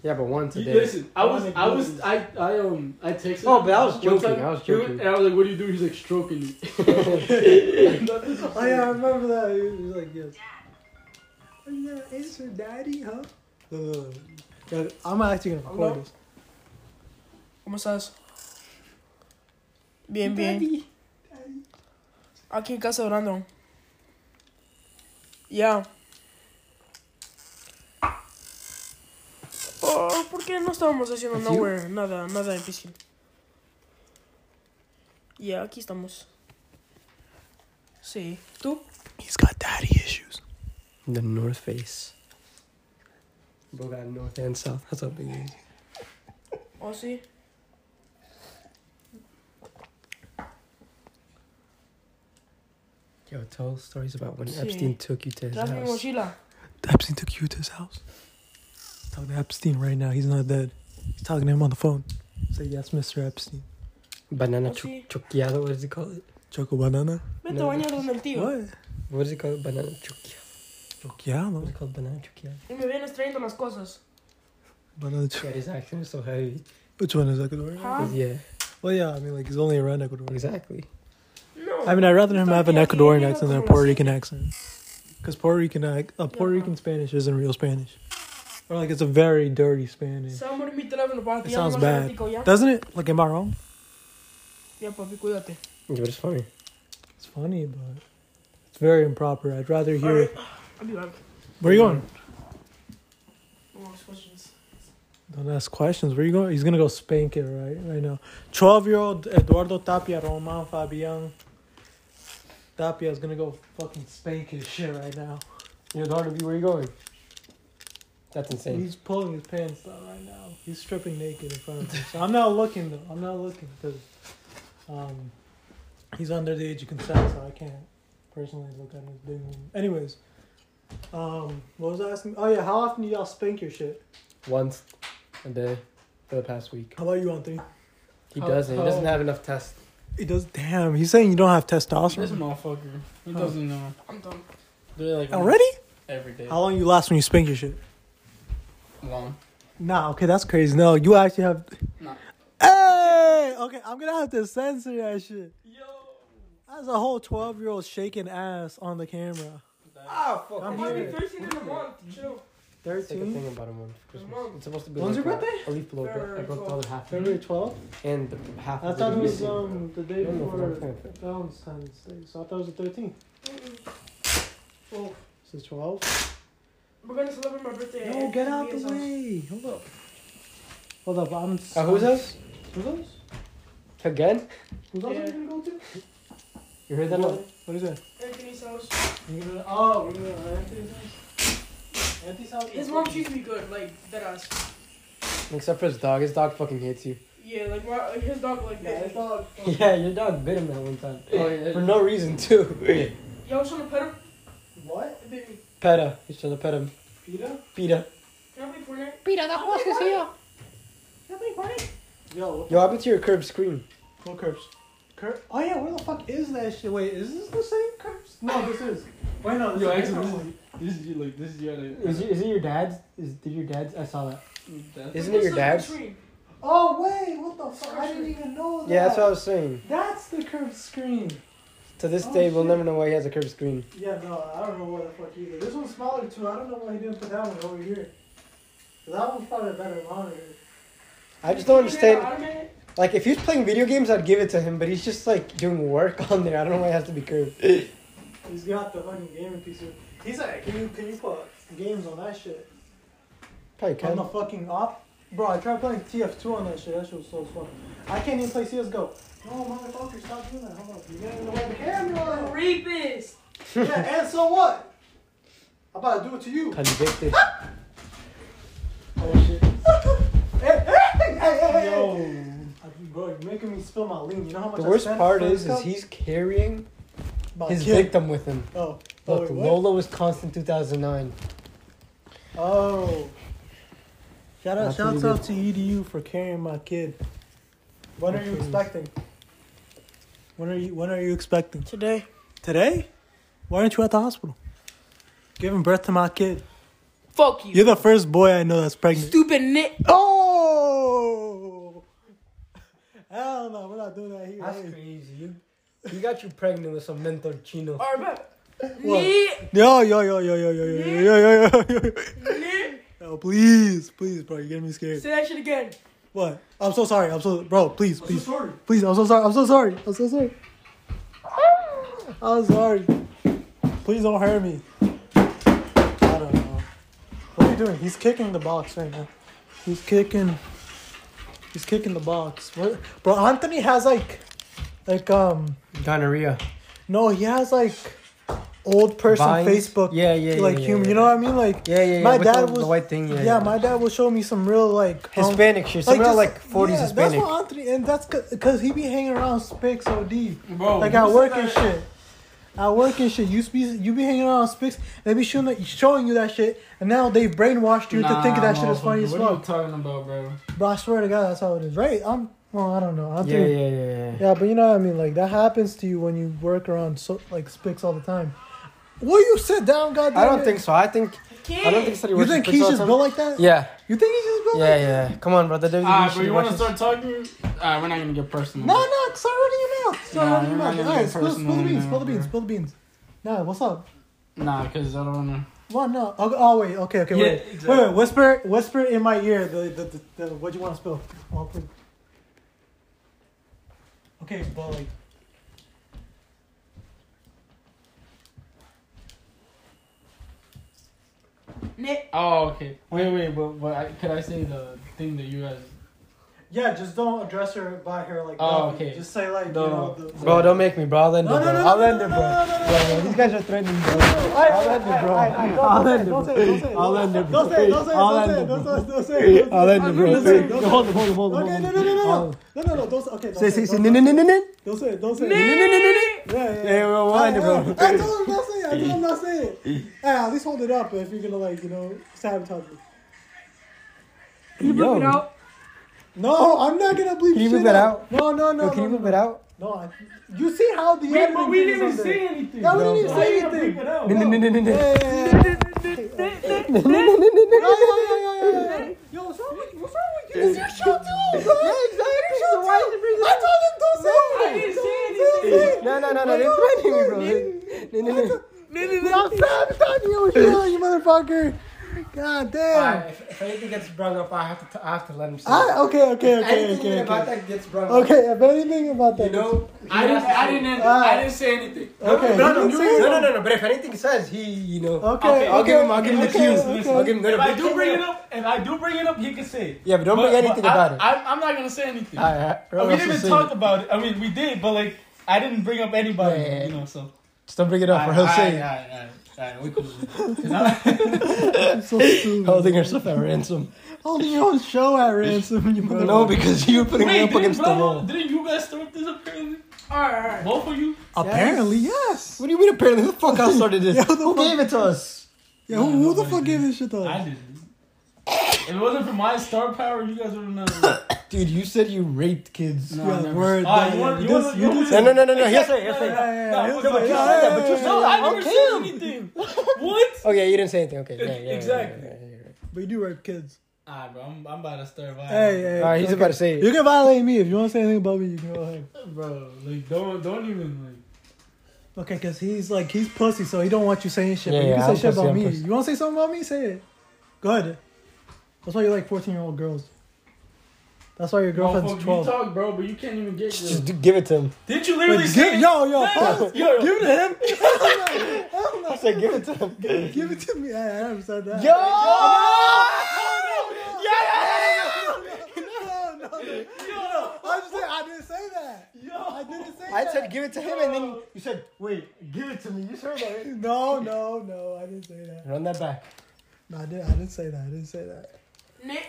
[SPEAKER 1] Yeah, but once a
[SPEAKER 8] You-
[SPEAKER 1] day.
[SPEAKER 8] Listen, I was, I was, I, I um, I texted.
[SPEAKER 1] Oh, but I was
[SPEAKER 8] one
[SPEAKER 1] joking,
[SPEAKER 8] time,
[SPEAKER 1] I was
[SPEAKER 8] he went-
[SPEAKER 1] joking.
[SPEAKER 8] And I was like, "What do you do?" He's like, "Stroking me."
[SPEAKER 5] Oh yeah, I remember that. He was like, yes. Are you gonna answer, daddy? Huh? No, no, no. Uh, Yeah, I'm actually gonna record
[SPEAKER 7] Hello?
[SPEAKER 5] this.
[SPEAKER 7] ¿cómo estás? Bien, bien. Aquí en casa orando. Ya. Oh, ¿Por qué no estábamos haciendo nowhere? Nada, nada difícil. Ya, aquí estamos. Sí. ¿Tú?
[SPEAKER 5] He's got daddy issues.
[SPEAKER 1] The North Face. Bro got North and South. That's how big it is.
[SPEAKER 7] Oh, sí.
[SPEAKER 1] Yo, tell stories about when
[SPEAKER 7] Sí.
[SPEAKER 1] Epstein took you to his
[SPEAKER 7] ¿Traes mi
[SPEAKER 1] house.
[SPEAKER 7] mochila?
[SPEAKER 5] Epstein took you to his house. Talk to Epstein right now. He's not dead. He's talking to him on the phone. Say yes, Mr. Epstein.
[SPEAKER 1] Banana
[SPEAKER 7] Let's see.
[SPEAKER 1] chu- chuqueado, what does he call it?
[SPEAKER 5] Choco banana.
[SPEAKER 7] Vete a
[SPEAKER 1] No.
[SPEAKER 7] bañar donde el tío.
[SPEAKER 5] What?
[SPEAKER 1] What does he call it? Banana chuqueado. What
[SPEAKER 5] Choqueado.
[SPEAKER 1] is it called? Banana chuqueado.
[SPEAKER 7] Y me vienes trayendo las cosas.
[SPEAKER 5] Banana. Cho-
[SPEAKER 1] God, his accent is so heavy.
[SPEAKER 5] Which one is Ecuadorian?
[SPEAKER 7] Huh?
[SPEAKER 1] Yeah,
[SPEAKER 5] Well, yeah. I mean, like he's only around Ecuador.
[SPEAKER 1] exactly.
[SPEAKER 7] No.
[SPEAKER 5] I mean, I'd rather him have an
[SPEAKER 7] Yeah,
[SPEAKER 5] Ecuadorian
[SPEAKER 7] yeah,
[SPEAKER 5] accent than a
[SPEAKER 7] Ecuadorian.
[SPEAKER 5] Puerto Rican accent. Because Puerto Rican, ac- a Puerto
[SPEAKER 7] Yeah.
[SPEAKER 5] Rican Spanish isn't real Spanish. Or like it's a very dirty Spanish.
[SPEAKER 7] Se va a morir mi teléfono para ti.
[SPEAKER 5] It sounds
[SPEAKER 7] más
[SPEAKER 5] bad.
[SPEAKER 7] ratico, ya.
[SPEAKER 5] Doesn't it? Like, am I wrong?
[SPEAKER 7] Ya, papi, cuídate.
[SPEAKER 1] Yeah, but it's funny.
[SPEAKER 5] It's funny, but it's very improper. I'd rather hear.
[SPEAKER 7] Alright. I'll be back.
[SPEAKER 5] Where you going?
[SPEAKER 7] No more questions.
[SPEAKER 5] Don't ask questions. Where you going? He's gonna go spank it right right now. Twelve year old Eduardo Tapia Roman Fabian Tapia is gonna go fucking spank his shit right now.
[SPEAKER 1] Your daughter, where you going? That's insane.
[SPEAKER 5] He's pulling his pants down right now. He's stripping naked in front of me. So I'm not looking though. I'm not looking because um, he's under the age of consent, so I can't personally look at his big one. Anyways, um, what was I asking? Oh yeah, how often do y'all spank your shit?
[SPEAKER 1] Once a day for the past week.
[SPEAKER 5] How about you, Anthony?
[SPEAKER 1] He
[SPEAKER 8] How-
[SPEAKER 1] doesn't. He doesn't
[SPEAKER 8] how-
[SPEAKER 1] have enough tests.
[SPEAKER 5] It does. Damn, he's saying you don't have
[SPEAKER 8] This
[SPEAKER 5] testosterone
[SPEAKER 8] motherfucker. He
[SPEAKER 5] Huh.
[SPEAKER 8] doesn't know.
[SPEAKER 7] I'm done.
[SPEAKER 8] They're like
[SPEAKER 5] already.
[SPEAKER 8] every day.
[SPEAKER 5] How long you last when you spank your shit?
[SPEAKER 8] long?
[SPEAKER 5] Nah, okay, that's crazy. No, you actually have.
[SPEAKER 8] No.
[SPEAKER 5] Hey, okay, I'm gonna have to censor that shit.
[SPEAKER 8] Yo.
[SPEAKER 5] That's a whole twelve year old shaking ass on the camera.
[SPEAKER 6] Ah, fuck.
[SPEAKER 5] I'm
[SPEAKER 7] It might be
[SPEAKER 5] here.
[SPEAKER 7] 13 in a month. Chill.
[SPEAKER 1] It's like a
[SPEAKER 5] Thirteen.
[SPEAKER 1] thing about a month. for Christmas.
[SPEAKER 7] Mom.
[SPEAKER 1] It's supposed to be.
[SPEAKER 5] When's
[SPEAKER 1] like
[SPEAKER 5] your
[SPEAKER 1] a- A leaf blower. but I
[SPEAKER 7] February
[SPEAKER 1] broke the other half.
[SPEAKER 5] February twelfth.
[SPEAKER 1] And the half.
[SPEAKER 5] I
[SPEAKER 1] of
[SPEAKER 5] thought it was
[SPEAKER 1] missing.
[SPEAKER 5] um the day
[SPEAKER 1] No, no,
[SPEAKER 5] before
[SPEAKER 1] no, no.
[SPEAKER 5] Valentine's Day, so I thought it was the thirteenth.
[SPEAKER 7] Well,
[SPEAKER 5] Is it twelve?
[SPEAKER 7] we're gonna celebrate my birthday.
[SPEAKER 5] No,
[SPEAKER 7] at
[SPEAKER 5] get out the
[SPEAKER 7] Mia's house.
[SPEAKER 5] way. Hold up. Hold up, I'm.
[SPEAKER 1] At whose house?
[SPEAKER 5] Uh, Who's those?
[SPEAKER 1] Again?
[SPEAKER 5] Who's those?
[SPEAKER 7] Yeah.
[SPEAKER 5] Are you gonna go to?
[SPEAKER 1] You heard that?
[SPEAKER 5] What what is that?
[SPEAKER 7] Anthony's house.
[SPEAKER 5] You're gonna, oh, we're gonna uh, Anthony's house. Anthony's house.
[SPEAKER 7] His mom treats me good, like that ass.
[SPEAKER 1] Except for his dog. His dog fucking hates you.
[SPEAKER 7] Yeah, like my, like, his dog like
[SPEAKER 5] Yeah,
[SPEAKER 7] that.
[SPEAKER 5] it's not.
[SPEAKER 1] Yeah, your dog bit him that one time.
[SPEAKER 8] Oh, yeah.
[SPEAKER 1] For no reason too.
[SPEAKER 7] Yo, I was trying to pet him.
[SPEAKER 5] What?
[SPEAKER 7] It bit me.
[SPEAKER 1] Peta. He's trying to pet him.
[SPEAKER 5] Peter?
[SPEAKER 1] Peta.
[SPEAKER 7] Can I play Fortnite?
[SPEAKER 1] Peta, the horse is here.
[SPEAKER 7] Can I play Fortnite?
[SPEAKER 5] Yo, what,
[SPEAKER 1] Yo, I went to your curb screen.
[SPEAKER 5] what curbs? Curb? Oh yeah, where the fuck is that shit? Wait, is this the same curbs? No, this is. Wait, no,
[SPEAKER 8] Yo,
[SPEAKER 5] this is
[SPEAKER 8] actually,
[SPEAKER 5] the
[SPEAKER 8] this
[SPEAKER 5] one.
[SPEAKER 8] is, this is you, like this is you.
[SPEAKER 1] Is it, is it your dad's? Is did your dad's? I saw that.
[SPEAKER 8] That's
[SPEAKER 1] Isn't it your dad's?
[SPEAKER 7] Screen.
[SPEAKER 5] Oh wait, what the fuck? I didn't even know that.
[SPEAKER 1] Yeah, that's what I was saying.
[SPEAKER 5] That's the curved screen.
[SPEAKER 1] To this
[SPEAKER 5] Oh,
[SPEAKER 1] day, we'll
[SPEAKER 5] shit.
[SPEAKER 1] never know why he has a curved screen.
[SPEAKER 5] Yeah, no, I don't know what the fuck either. This one's smaller too. I don't know why he didn't put that one over here. That one's probably a better monitor.
[SPEAKER 1] I just don't understand.
[SPEAKER 7] Automatic?
[SPEAKER 1] Like, if he was playing video games, I'd give it to him, but he's just like doing work on there. I don't know why it has to be curved.
[SPEAKER 5] He's got the fucking gaming PC. He's like, can you can you put games on that shit?
[SPEAKER 1] Probably
[SPEAKER 5] On
[SPEAKER 1] kind
[SPEAKER 5] the fucking op? Bro, I tried playing TF2 on that shit. That shit was so fun. I can't even play CSGO. No, motherfucker, stop doing that. Hold up. You're getting in the way of the camera.
[SPEAKER 7] Rapist.
[SPEAKER 5] yeah, and so what? I'm about to do it to you.
[SPEAKER 1] convicted.
[SPEAKER 5] Oh, shit. hey, hey, hey, hey, hey.
[SPEAKER 8] Yo.
[SPEAKER 5] Uh, Bro, you're making me spill my lean. You know how much
[SPEAKER 1] The
[SPEAKER 5] I
[SPEAKER 1] worst
[SPEAKER 5] spent
[SPEAKER 1] part
[SPEAKER 5] for
[SPEAKER 1] is,
[SPEAKER 5] this
[SPEAKER 1] is
[SPEAKER 5] cup?
[SPEAKER 1] he's carrying
[SPEAKER 5] My
[SPEAKER 1] his
[SPEAKER 5] kid.
[SPEAKER 1] victim with him.
[SPEAKER 5] Oh, oh,
[SPEAKER 1] Look,
[SPEAKER 5] wait, what?
[SPEAKER 1] Lola was constant 2009.
[SPEAKER 5] oh. Shout out,
[SPEAKER 1] That's
[SPEAKER 5] shout
[SPEAKER 1] what
[SPEAKER 5] out
[SPEAKER 1] he
[SPEAKER 5] to EDU for carrying my kid. When are you expecting? When are you When are you expecting?
[SPEAKER 7] Today.
[SPEAKER 5] Today? Why aren't you at the hospital? Giving birth to my kid.
[SPEAKER 7] Fuck you.
[SPEAKER 5] You're the first boy I know that's pregnant.
[SPEAKER 7] Stupid nit.
[SPEAKER 5] Oh! Hell no, we're not doing that here.
[SPEAKER 1] That's
[SPEAKER 5] Hey.
[SPEAKER 1] crazy. You, he got you pregnant with some mentor chino.
[SPEAKER 7] Alright, bet.
[SPEAKER 5] What?
[SPEAKER 7] Nit.
[SPEAKER 5] Yo, yo, yo, yo, yo, yo, yo, yo, yo, yo, yo, yo.
[SPEAKER 7] Nit.
[SPEAKER 5] No, please, please, bro. You're getting me scared.
[SPEAKER 7] Say that shit again.
[SPEAKER 5] What? I'm so sorry. I'm so, bro. Please, please,
[SPEAKER 8] sorry.
[SPEAKER 5] please. I'm so sorry. I'm so sorry. I'm so sorry. I'm sorry. Please don't hurt me. I don't know. What are you doing? He's kicking the box right now. He's kicking. He's kicking the box. What, bro? Anthony has like, like um.
[SPEAKER 1] Gonorrhea.
[SPEAKER 5] No, he has like old person
[SPEAKER 1] Vines?
[SPEAKER 5] Facebook.
[SPEAKER 1] Yeah, yeah, yeah,
[SPEAKER 5] Like
[SPEAKER 1] yeah,
[SPEAKER 5] human.
[SPEAKER 1] yeah.
[SPEAKER 5] You know what I mean? Like
[SPEAKER 1] Yeah, yeah, yeah.
[SPEAKER 5] My
[SPEAKER 1] with
[SPEAKER 5] dad
[SPEAKER 1] the,
[SPEAKER 5] was-
[SPEAKER 1] the white thing. Yeah,
[SPEAKER 5] yeah,
[SPEAKER 1] yeah.
[SPEAKER 5] my dad will show me some real like um,
[SPEAKER 1] Hispanic shit. Something
[SPEAKER 5] just-
[SPEAKER 1] like 40s
[SPEAKER 5] yeah,
[SPEAKER 1] Hispanic.
[SPEAKER 5] That's what Anthony, and that's because he be hanging around Spix OD,
[SPEAKER 8] Bro,
[SPEAKER 5] like
[SPEAKER 8] who
[SPEAKER 5] at
[SPEAKER 8] said
[SPEAKER 5] work
[SPEAKER 8] that?
[SPEAKER 5] and shit. at work and shit. You be you be hanging out on Spix, and they be showing showing you that shit, and now they brainwashed you to think that shit is funny as
[SPEAKER 8] What
[SPEAKER 5] fuck.
[SPEAKER 8] are you talking about, bro?
[SPEAKER 5] Bro, I swear to God, that's how it is. Right? I'm. Well, I don't know. I
[SPEAKER 8] Yeah,
[SPEAKER 5] think.
[SPEAKER 8] yeah, yeah, yeah.
[SPEAKER 5] Yeah, but you know what I mean. Like that happens to you when you work around so like spics all the time. Will you sit down, goddamn?
[SPEAKER 1] I don't
[SPEAKER 5] it?
[SPEAKER 1] think so. I think I don't think so.
[SPEAKER 5] You think he's just built like that?
[SPEAKER 1] Yeah,
[SPEAKER 5] You think he's just built?
[SPEAKER 1] yeah,
[SPEAKER 5] Like
[SPEAKER 1] yeah. Come on, brother. WWE
[SPEAKER 8] Alright,
[SPEAKER 1] should
[SPEAKER 8] Ah, but you
[SPEAKER 1] watch
[SPEAKER 8] want to
[SPEAKER 1] this.
[SPEAKER 8] start talking? Alright, we're not gonna get personal.
[SPEAKER 5] No, no. Start running your mouth. Start
[SPEAKER 8] Nah,
[SPEAKER 5] running
[SPEAKER 8] you're not
[SPEAKER 5] your mouth.
[SPEAKER 8] gonna
[SPEAKER 5] All
[SPEAKER 8] get
[SPEAKER 5] right, spill, spill the
[SPEAKER 8] personal
[SPEAKER 5] beans.
[SPEAKER 8] now,
[SPEAKER 5] Spill the beans.
[SPEAKER 8] bro.
[SPEAKER 5] Spill the beans. Nah, what's up?
[SPEAKER 8] Nah, because I don't wanna.
[SPEAKER 5] What? No. Oh, oh wait. Okay. Okay.
[SPEAKER 8] Yeah,
[SPEAKER 5] wait.
[SPEAKER 8] exactly.
[SPEAKER 5] Wait. Wait. Whisper. Whisper in my ear. The the, the, the what you want to spill? Oh, please. Okay, but like.
[SPEAKER 7] Nick.
[SPEAKER 8] Oh, okay. Wait, wait, but, but I, could I say the thing that you guys?
[SPEAKER 5] Yeah, just don't address her by her like.
[SPEAKER 8] Oh,
[SPEAKER 5] that.
[SPEAKER 8] okay.
[SPEAKER 5] Just say like
[SPEAKER 8] No,
[SPEAKER 5] you
[SPEAKER 8] no.
[SPEAKER 5] know. The,
[SPEAKER 1] Bro, don't make me, bro. I'll end
[SPEAKER 5] No,
[SPEAKER 1] it,
[SPEAKER 5] no,
[SPEAKER 1] bro.
[SPEAKER 5] no, no,
[SPEAKER 1] I'll
[SPEAKER 5] no,
[SPEAKER 1] end
[SPEAKER 5] no,
[SPEAKER 1] it,
[SPEAKER 5] no,
[SPEAKER 1] bro.
[SPEAKER 5] no, no, no,
[SPEAKER 1] Bro, bro, These guys are threatening, bro. I'll end it, bro. I'll end
[SPEAKER 5] I'll end
[SPEAKER 1] it,
[SPEAKER 5] it. Don't say
[SPEAKER 1] bro.
[SPEAKER 5] it. Don't
[SPEAKER 1] I'll
[SPEAKER 5] say it.
[SPEAKER 1] end it,
[SPEAKER 5] Don't
[SPEAKER 1] bro.
[SPEAKER 5] say it. Don't say it.
[SPEAKER 1] I'll
[SPEAKER 5] Don't say
[SPEAKER 1] end it,
[SPEAKER 5] it.
[SPEAKER 1] bro.
[SPEAKER 5] Don't
[SPEAKER 1] I'll end it,
[SPEAKER 5] say it. Don't say it.
[SPEAKER 1] bro.
[SPEAKER 5] Don't
[SPEAKER 1] Hold him, hold him, hold him.
[SPEAKER 5] Okay,
[SPEAKER 1] hold
[SPEAKER 5] no,
[SPEAKER 1] him.
[SPEAKER 5] no, no, no,
[SPEAKER 1] I'll-
[SPEAKER 5] no, no, no, don't say. Okay, don't
[SPEAKER 1] Say,
[SPEAKER 5] say,
[SPEAKER 1] say,
[SPEAKER 5] it,
[SPEAKER 1] say, no,
[SPEAKER 5] don't
[SPEAKER 1] no, no, no, no.
[SPEAKER 5] Don't say it. Don't say it.
[SPEAKER 7] Nick.
[SPEAKER 5] Yeah, yeah.
[SPEAKER 1] Hey, bro, we'll end it, bro.
[SPEAKER 5] I told him not say it. I told him not say it. Hey, at least hold it up if you're gonna like you know sabotage me.
[SPEAKER 7] Can you
[SPEAKER 1] Yo.
[SPEAKER 7] bleep it out?
[SPEAKER 5] No, I'm not gonna bleep.
[SPEAKER 1] Can you
[SPEAKER 5] shit
[SPEAKER 1] move that out?
[SPEAKER 5] No, no, no.
[SPEAKER 1] Yo, can
[SPEAKER 5] no,
[SPEAKER 1] you move
[SPEAKER 5] no,
[SPEAKER 1] it out?
[SPEAKER 5] No, I, you see how the
[SPEAKER 8] Wait,
[SPEAKER 5] editing
[SPEAKER 8] but we
[SPEAKER 5] thing is
[SPEAKER 8] didn't even
[SPEAKER 5] on there.
[SPEAKER 8] say anything.
[SPEAKER 5] Yeah,
[SPEAKER 8] So
[SPEAKER 5] we didn't even
[SPEAKER 8] how
[SPEAKER 5] say
[SPEAKER 8] you gonna
[SPEAKER 5] anything.
[SPEAKER 8] bleep it out?
[SPEAKER 1] No, no, no, no, no, no.
[SPEAKER 5] Yeah, yeah, yeah, yeah. Yo, what's wrong with what's wrong with you? It's your show too, bro. Yeah, exactly. Your show so why you bring I told him don't say it.
[SPEAKER 8] I didn't say
[SPEAKER 5] Don't say it.
[SPEAKER 1] No, no, no, no. They're threatening me, bro. They- No, no, no.
[SPEAKER 5] Stop sabotaging your show, you motherfucker. God damn.
[SPEAKER 6] Alright, if, if anything gets brought up, I have to, I have to let him say
[SPEAKER 5] I, okay, okay, okay,
[SPEAKER 6] Anything
[SPEAKER 5] okay,
[SPEAKER 6] about
[SPEAKER 5] okay.
[SPEAKER 6] that gets brought up.
[SPEAKER 5] Okay, if anything about that,
[SPEAKER 6] You know?
[SPEAKER 8] I didn't. I didn't. end-
[SPEAKER 5] Ah.
[SPEAKER 8] I didn't say anything.
[SPEAKER 5] okay.
[SPEAKER 6] No, no,
[SPEAKER 5] you
[SPEAKER 6] you-
[SPEAKER 5] say it.
[SPEAKER 6] no, no, no, no, but if anything says, he, you know.
[SPEAKER 5] Okay,
[SPEAKER 8] Okay,
[SPEAKER 5] okay.
[SPEAKER 6] I'll give him, I'll give him the
[SPEAKER 5] okay,
[SPEAKER 6] cues.
[SPEAKER 5] okay.
[SPEAKER 6] I'll give him, no, no,
[SPEAKER 8] If I
[SPEAKER 6] but
[SPEAKER 8] do bring it up, if I do bring it up, he can say it.
[SPEAKER 1] Yeah, but don't
[SPEAKER 8] But-
[SPEAKER 1] bring anything
[SPEAKER 8] but I-
[SPEAKER 1] about it.
[SPEAKER 8] I, I'm not gonna say anything.
[SPEAKER 1] All right,
[SPEAKER 8] Uh,
[SPEAKER 1] bro,
[SPEAKER 8] we
[SPEAKER 1] let's
[SPEAKER 8] didn't
[SPEAKER 1] just
[SPEAKER 8] even
[SPEAKER 1] say
[SPEAKER 8] talk
[SPEAKER 1] it.
[SPEAKER 8] about it. I mean, we did, but like, I didn't bring up anybody,
[SPEAKER 1] Yeah, yeah,
[SPEAKER 8] you
[SPEAKER 1] yeah.
[SPEAKER 8] know. So
[SPEAKER 1] Just don't bring it up, or he'll say it.
[SPEAKER 8] alright, alright, we could.
[SPEAKER 5] I'm so stupid.
[SPEAKER 1] Holding herself at ransom.
[SPEAKER 5] Holding your own show at ransom, you motherfucker.
[SPEAKER 1] No, because you're putting me
[SPEAKER 8] Wait,
[SPEAKER 1] up
[SPEAKER 8] didn't,
[SPEAKER 1] against the
[SPEAKER 8] bro,
[SPEAKER 1] wall.
[SPEAKER 8] didn't you guys start this apparently?
[SPEAKER 7] Alright.
[SPEAKER 8] Both of you?
[SPEAKER 5] Apparently, yes.
[SPEAKER 1] What do you mean apparently? Who the fuck else started this?
[SPEAKER 5] Yeah, who the
[SPEAKER 1] Who
[SPEAKER 5] fuck-
[SPEAKER 1] gave it to us?
[SPEAKER 5] Yeah, who, who the fuck gave this shit to
[SPEAKER 8] I
[SPEAKER 5] us?
[SPEAKER 8] didn't. If it wasn't for my star power, you guys would have known.
[SPEAKER 1] Dude, you said you raped kids.
[SPEAKER 8] No,
[SPEAKER 5] Yeah,
[SPEAKER 8] I never-
[SPEAKER 5] word.
[SPEAKER 8] Ah,
[SPEAKER 5] yeah,
[SPEAKER 8] you want-
[SPEAKER 5] yeah,
[SPEAKER 8] you
[SPEAKER 5] this-
[SPEAKER 8] want-
[SPEAKER 5] you
[SPEAKER 8] you
[SPEAKER 5] did
[SPEAKER 8] want-
[SPEAKER 5] say-
[SPEAKER 1] No, no, no, no, no. He'll say it. He'll say
[SPEAKER 5] Yeah,
[SPEAKER 1] it.
[SPEAKER 8] No,
[SPEAKER 5] yeah, yeah,
[SPEAKER 8] what
[SPEAKER 5] yeah,
[SPEAKER 8] about
[SPEAKER 5] yeah,
[SPEAKER 8] you?
[SPEAKER 5] yeah, yeah,
[SPEAKER 1] But you
[SPEAKER 5] yeah,
[SPEAKER 8] No,
[SPEAKER 5] yeah.
[SPEAKER 8] I never
[SPEAKER 1] Okay.
[SPEAKER 8] said anything. What?
[SPEAKER 1] Oh, yeah, you didn't say anything. Okay. Yeah, yeah, yeah,
[SPEAKER 8] Exactly.
[SPEAKER 1] yeah, yeah, yeah.
[SPEAKER 5] But you do rape kids.
[SPEAKER 8] Alright, bro, I'm, I'm about to start violence.
[SPEAKER 5] Hey, hey.
[SPEAKER 1] All right, he's
[SPEAKER 5] okay.
[SPEAKER 1] about to say
[SPEAKER 5] You
[SPEAKER 1] it.
[SPEAKER 5] can violate me if you want to say anything about me. You can go ahead.
[SPEAKER 8] Bro, like, don't, don't even, like.
[SPEAKER 5] Okay, cause he's like he's pussy, so he don't want you saying shit.
[SPEAKER 1] Yeah,
[SPEAKER 5] but you
[SPEAKER 1] yeah,
[SPEAKER 5] can say
[SPEAKER 1] I'm
[SPEAKER 5] shit
[SPEAKER 1] pussy,
[SPEAKER 5] about
[SPEAKER 1] I'm
[SPEAKER 5] me.
[SPEAKER 1] pussy.
[SPEAKER 5] You want to say something about me? Say it. Go ahead. That's why you like fourteen year old girls. That's why your girlfriend's
[SPEAKER 8] Motherfucker,
[SPEAKER 5] twelve.
[SPEAKER 8] You talk, bro, but you can't even get.
[SPEAKER 1] Just,
[SPEAKER 8] Just,
[SPEAKER 1] just do- give it to him.
[SPEAKER 8] did you literally
[SPEAKER 5] Wait,
[SPEAKER 8] say?
[SPEAKER 5] give, yo, yo,
[SPEAKER 8] Hey,
[SPEAKER 5] pause.
[SPEAKER 8] yo, yo.
[SPEAKER 5] Give it to him.
[SPEAKER 1] I said give it to him. Yo!
[SPEAKER 5] Give it to me. I, I never said that. No, no, no. I just said I didn't say that. I didn't say
[SPEAKER 1] I
[SPEAKER 5] that.
[SPEAKER 1] said give it to him, and then you said, wait, give it to me. You heard that, right?
[SPEAKER 5] no, no, no. I didn't say that.
[SPEAKER 1] Run that back.
[SPEAKER 5] No, I didn't. I didn't say that. I didn't say that.
[SPEAKER 7] Nick.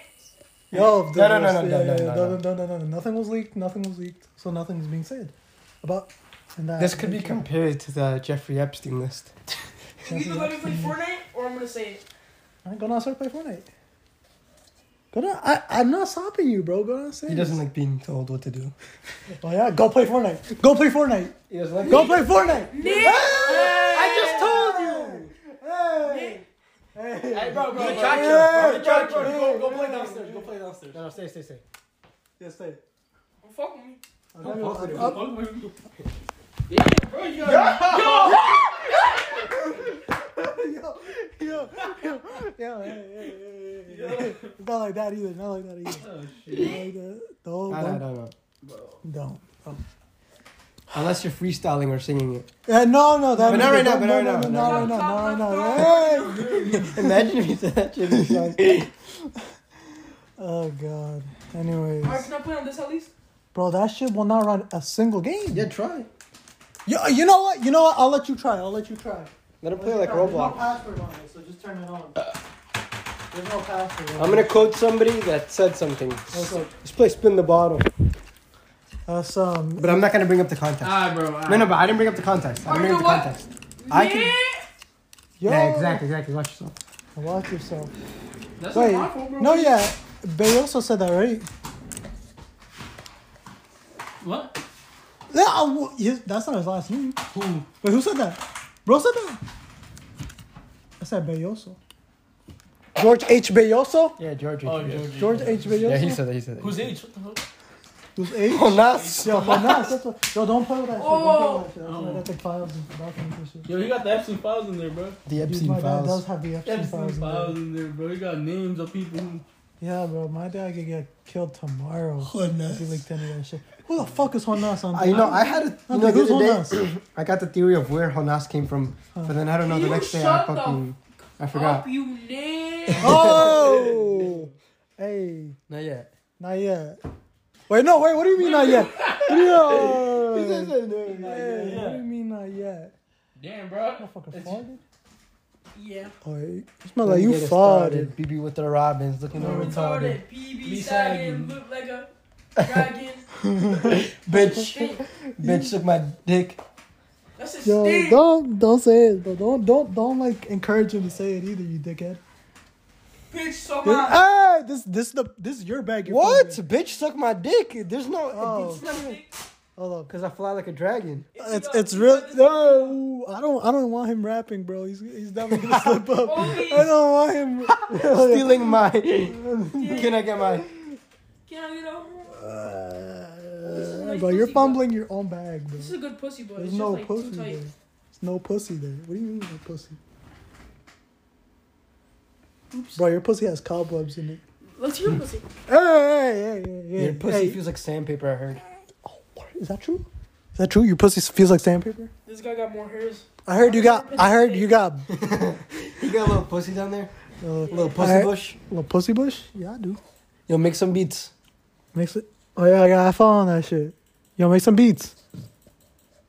[SPEAKER 5] Yo,
[SPEAKER 1] No, no, no, no,
[SPEAKER 5] yeah,
[SPEAKER 1] no, no,
[SPEAKER 5] yeah, yeah,
[SPEAKER 1] no,
[SPEAKER 5] no, no, no, no. Nothing was leaked. Nothing was leaked. So nothing's being said about. And that
[SPEAKER 1] This could be compared to the Jeffrey Epstein list.
[SPEAKER 7] You either let me play Fortnite or I'm gonna say it.
[SPEAKER 5] All right, go down, start play Fortnite. Go down. I, I'm not stopping you, bro. Go down, say.
[SPEAKER 1] He doesn't like being told what to do.
[SPEAKER 5] Oh yeah, go play Fortnite. Go play Fortnite.
[SPEAKER 1] He doesn't like.
[SPEAKER 5] Go play Fortnite.
[SPEAKER 7] Nick.
[SPEAKER 5] I just told you. Hey.
[SPEAKER 7] Nick.
[SPEAKER 5] Hey.
[SPEAKER 8] Hey, bro, bro, bro.
[SPEAKER 5] Hey,
[SPEAKER 8] Bro, bro, go, go play downstairs. Go play downstairs.
[SPEAKER 1] No, no, stay, stay, stay.
[SPEAKER 5] Yes, stay.
[SPEAKER 7] Don't fuck with me.
[SPEAKER 5] I'm not gonna- I'm- I'm-
[SPEAKER 8] Fuck with you.
[SPEAKER 5] yo, yo, yo, yo, hey, hey, hey, hey, hey, hey. It's not like that either. Not like that either.
[SPEAKER 8] Oh, shit.
[SPEAKER 5] Not
[SPEAKER 1] No, no,
[SPEAKER 5] like that. Don't, don't,
[SPEAKER 1] no, no.
[SPEAKER 5] don't.
[SPEAKER 1] Unless you're freestyling or singing it.
[SPEAKER 5] Yeah, no, no, that
[SPEAKER 1] But not
[SPEAKER 5] was-
[SPEAKER 1] right now,
[SPEAKER 5] no,
[SPEAKER 1] but
[SPEAKER 5] no,
[SPEAKER 1] not right
[SPEAKER 5] no,
[SPEAKER 1] now,
[SPEAKER 7] not right
[SPEAKER 5] no, no, no,
[SPEAKER 7] now.
[SPEAKER 5] no, no, hey!
[SPEAKER 1] Imagine if you said that shit in a song.
[SPEAKER 5] Oh god. Anyways,
[SPEAKER 7] Alright, can I play on this at least?
[SPEAKER 5] bro, that shit will not run a single game.
[SPEAKER 1] Yeah, try.
[SPEAKER 5] Yo, you know what? You know what? I'll let you try. I'll let you try.
[SPEAKER 1] Let him play like
[SPEAKER 5] There's no
[SPEAKER 1] Roblox.
[SPEAKER 5] password on it, so just turn it on. There's no password.
[SPEAKER 1] I'm gonna quote somebody that said something.
[SPEAKER 5] What's up?
[SPEAKER 1] Just play spin the bottle.
[SPEAKER 5] Uh, some.
[SPEAKER 1] But I'm not gonna bring up the context.
[SPEAKER 8] Ah, bro. ah.
[SPEAKER 1] no, no, but I didn't bring up the context. I
[SPEAKER 7] Oh,
[SPEAKER 1] didn't bring
[SPEAKER 7] you
[SPEAKER 1] up the
[SPEAKER 7] know what?
[SPEAKER 1] context. I
[SPEAKER 7] yeah.
[SPEAKER 1] can.
[SPEAKER 5] Yo,
[SPEAKER 1] Yeah, exactly, exactly. Watch yourself.
[SPEAKER 5] Watch yourself.
[SPEAKER 8] That's
[SPEAKER 5] Wait.
[SPEAKER 8] not my fault, bro.
[SPEAKER 5] No, yeah. Bay also said that, right?
[SPEAKER 8] What?
[SPEAKER 5] Yeah, I w- his- that's not his last name.
[SPEAKER 8] Who?
[SPEAKER 5] Wait, who said that? Bro said that. I said Bayoso. George H. Bayoso?
[SPEAKER 1] Yeah, George.
[SPEAKER 8] Oh, Georgie.
[SPEAKER 5] George H. Bayoso?
[SPEAKER 1] Yeah, he said that. He said that.
[SPEAKER 8] Who's H? What the fuck?
[SPEAKER 5] Who's H?
[SPEAKER 1] Jonas.
[SPEAKER 5] Yo, Jonas, that's what, yo, don't play with that shit. Don't play with that shit. That's why I
[SPEAKER 8] Oh.
[SPEAKER 5] got the files and documents and shit.
[SPEAKER 8] Yo, he got the Epstein files in there, bro.
[SPEAKER 1] The
[SPEAKER 5] Dude,
[SPEAKER 1] Epstein
[SPEAKER 5] my dad does
[SPEAKER 1] files.
[SPEAKER 5] have the Epstein,
[SPEAKER 8] Epstein
[SPEAKER 5] files. in there.
[SPEAKER 8] files in there, bro. He got names of people who.
[SPEAKER 5] Yeah, bro, my dad could get killed tomorrow.
[SPEAKER 1] Jonas.
[SPEAKER 5] If he leaked any of that shit. Who the fuck is Jonas on
[SPEAKER 1] I, you know, I had a, you know,
[SPEAKER 5] Who's
[SPEAKER 1] the other
[SPEAKER 5] Jonas?
[SPEAKER 1] day, I got the theory of where Jonas came from, but then I don't know. The
[SPEAKER 7] You
[SPEAKER 1] next day, I
[SPEAKER 7] shut the
[SPEAKER 1] fucking, I forgot.
[SPEAKER 7] Up, you live.
[SPEAKER 5] Oh! hey,
[SPEAKER 1] Not yet.
[SPEAKER 5] not yet. Wait, no, wait, what do you mean not yet? Yo! Hey, What do you mean not yet?
[SPEAKER 8] Damn, bro.
[SPEAKER 5] Motherfucker farted?
[SPEAKER 7] yeah.
[SPEAKER 5] Oh, it smells like you farted.
[SPEAKER 1] BB with the Robins, looking all retarded.
[SPEAKER 7] Retarded. PB
[SPEAKER 8] Me
[SPEAKER 7] sagging.
[SPEAKER 8] sagging.
[SPEAKER 7] Look like a dragon.
[SPEAKER 1] Bitch, bitch, took my dick.
[SPEAKER 7] That's a
[SPEAKER 5] Yo,
[SPEAKER 7] stick.
[SPEAKER 5] don't don't say it, but don't don't don't like encourage him to say it either, you dickhead.
[SPEAKER 7] Bitch, so
[SPEAKER 5] This,
[SPEAKER 7] my.
[SPEAKER 5] hey, this this is the this is your bag. you're
[SPEAKER 1] What?
[SPEAKER 5] fucking-
[SPEAKER 1] Bitch, suck my dick. There's no.
[SPEAKER 5] Oh.
[SPEAKER 1] it's not even-
[SPEAKER 5] Hold on.
[SPEAKER 1] Cause I fly like a dragon.
[SPEAKER 5] It's it's real. No, I don't I don't want him rapping, bro. He's he's definitely gonna slip up.
[SPEAKER 7] Only-
[SPEAKER 5] I don't want him.
[SPEAKER 1] Stealing my. Can I get my?
[SPEAKER 7] Can I get over?
[SPEAKER 5] Uh, bro, you're fumbling your own bag, bro.
[SPEAKER 7] This is a good pussy, but
[SPEAKER 5] There's
[SPEAKER 7] it's
[SPEAKER 5] no
[SPEAKER 7] just like
[SPEAKER 5] pussy
[SPEAKER 7] too
[SPEAKER 5] there.
[SPEAKER 7] tight.
[SPEAKER 5] There's no pussy there. What do you mean no pussy? Bro, your pussy has cobwebs in it.
[SPEAKER 7] Let's hear pussy.
[SPEAKER 5] Hey, hey, hey, hey, hey.
[SPEAKER 1] Your pussy
[SPEAKER 5] Hey,
[SPEAKER 1] feels like sandpaper. I heard.
[SPEAKER 5] Is that true? Is that true? Your pussy feels like sandpaper.
[SPEAKER 7] This guy got more hairs.
[SPEAKER 5] I heard you got. I heard you got a
[SPEAKER 1] You got a little pussy down there. A little pussy
[SPEAKER 5] I-
[SPEAKER 1] bush.
[SPEAKER 5] little pussy bush. Yeah, I do.
[SPEAKER 1] Yo, make some beats.
[SPEAKER 5] Makes it. Oh yeah, I got. I follow on that shit. Yo, make some beats.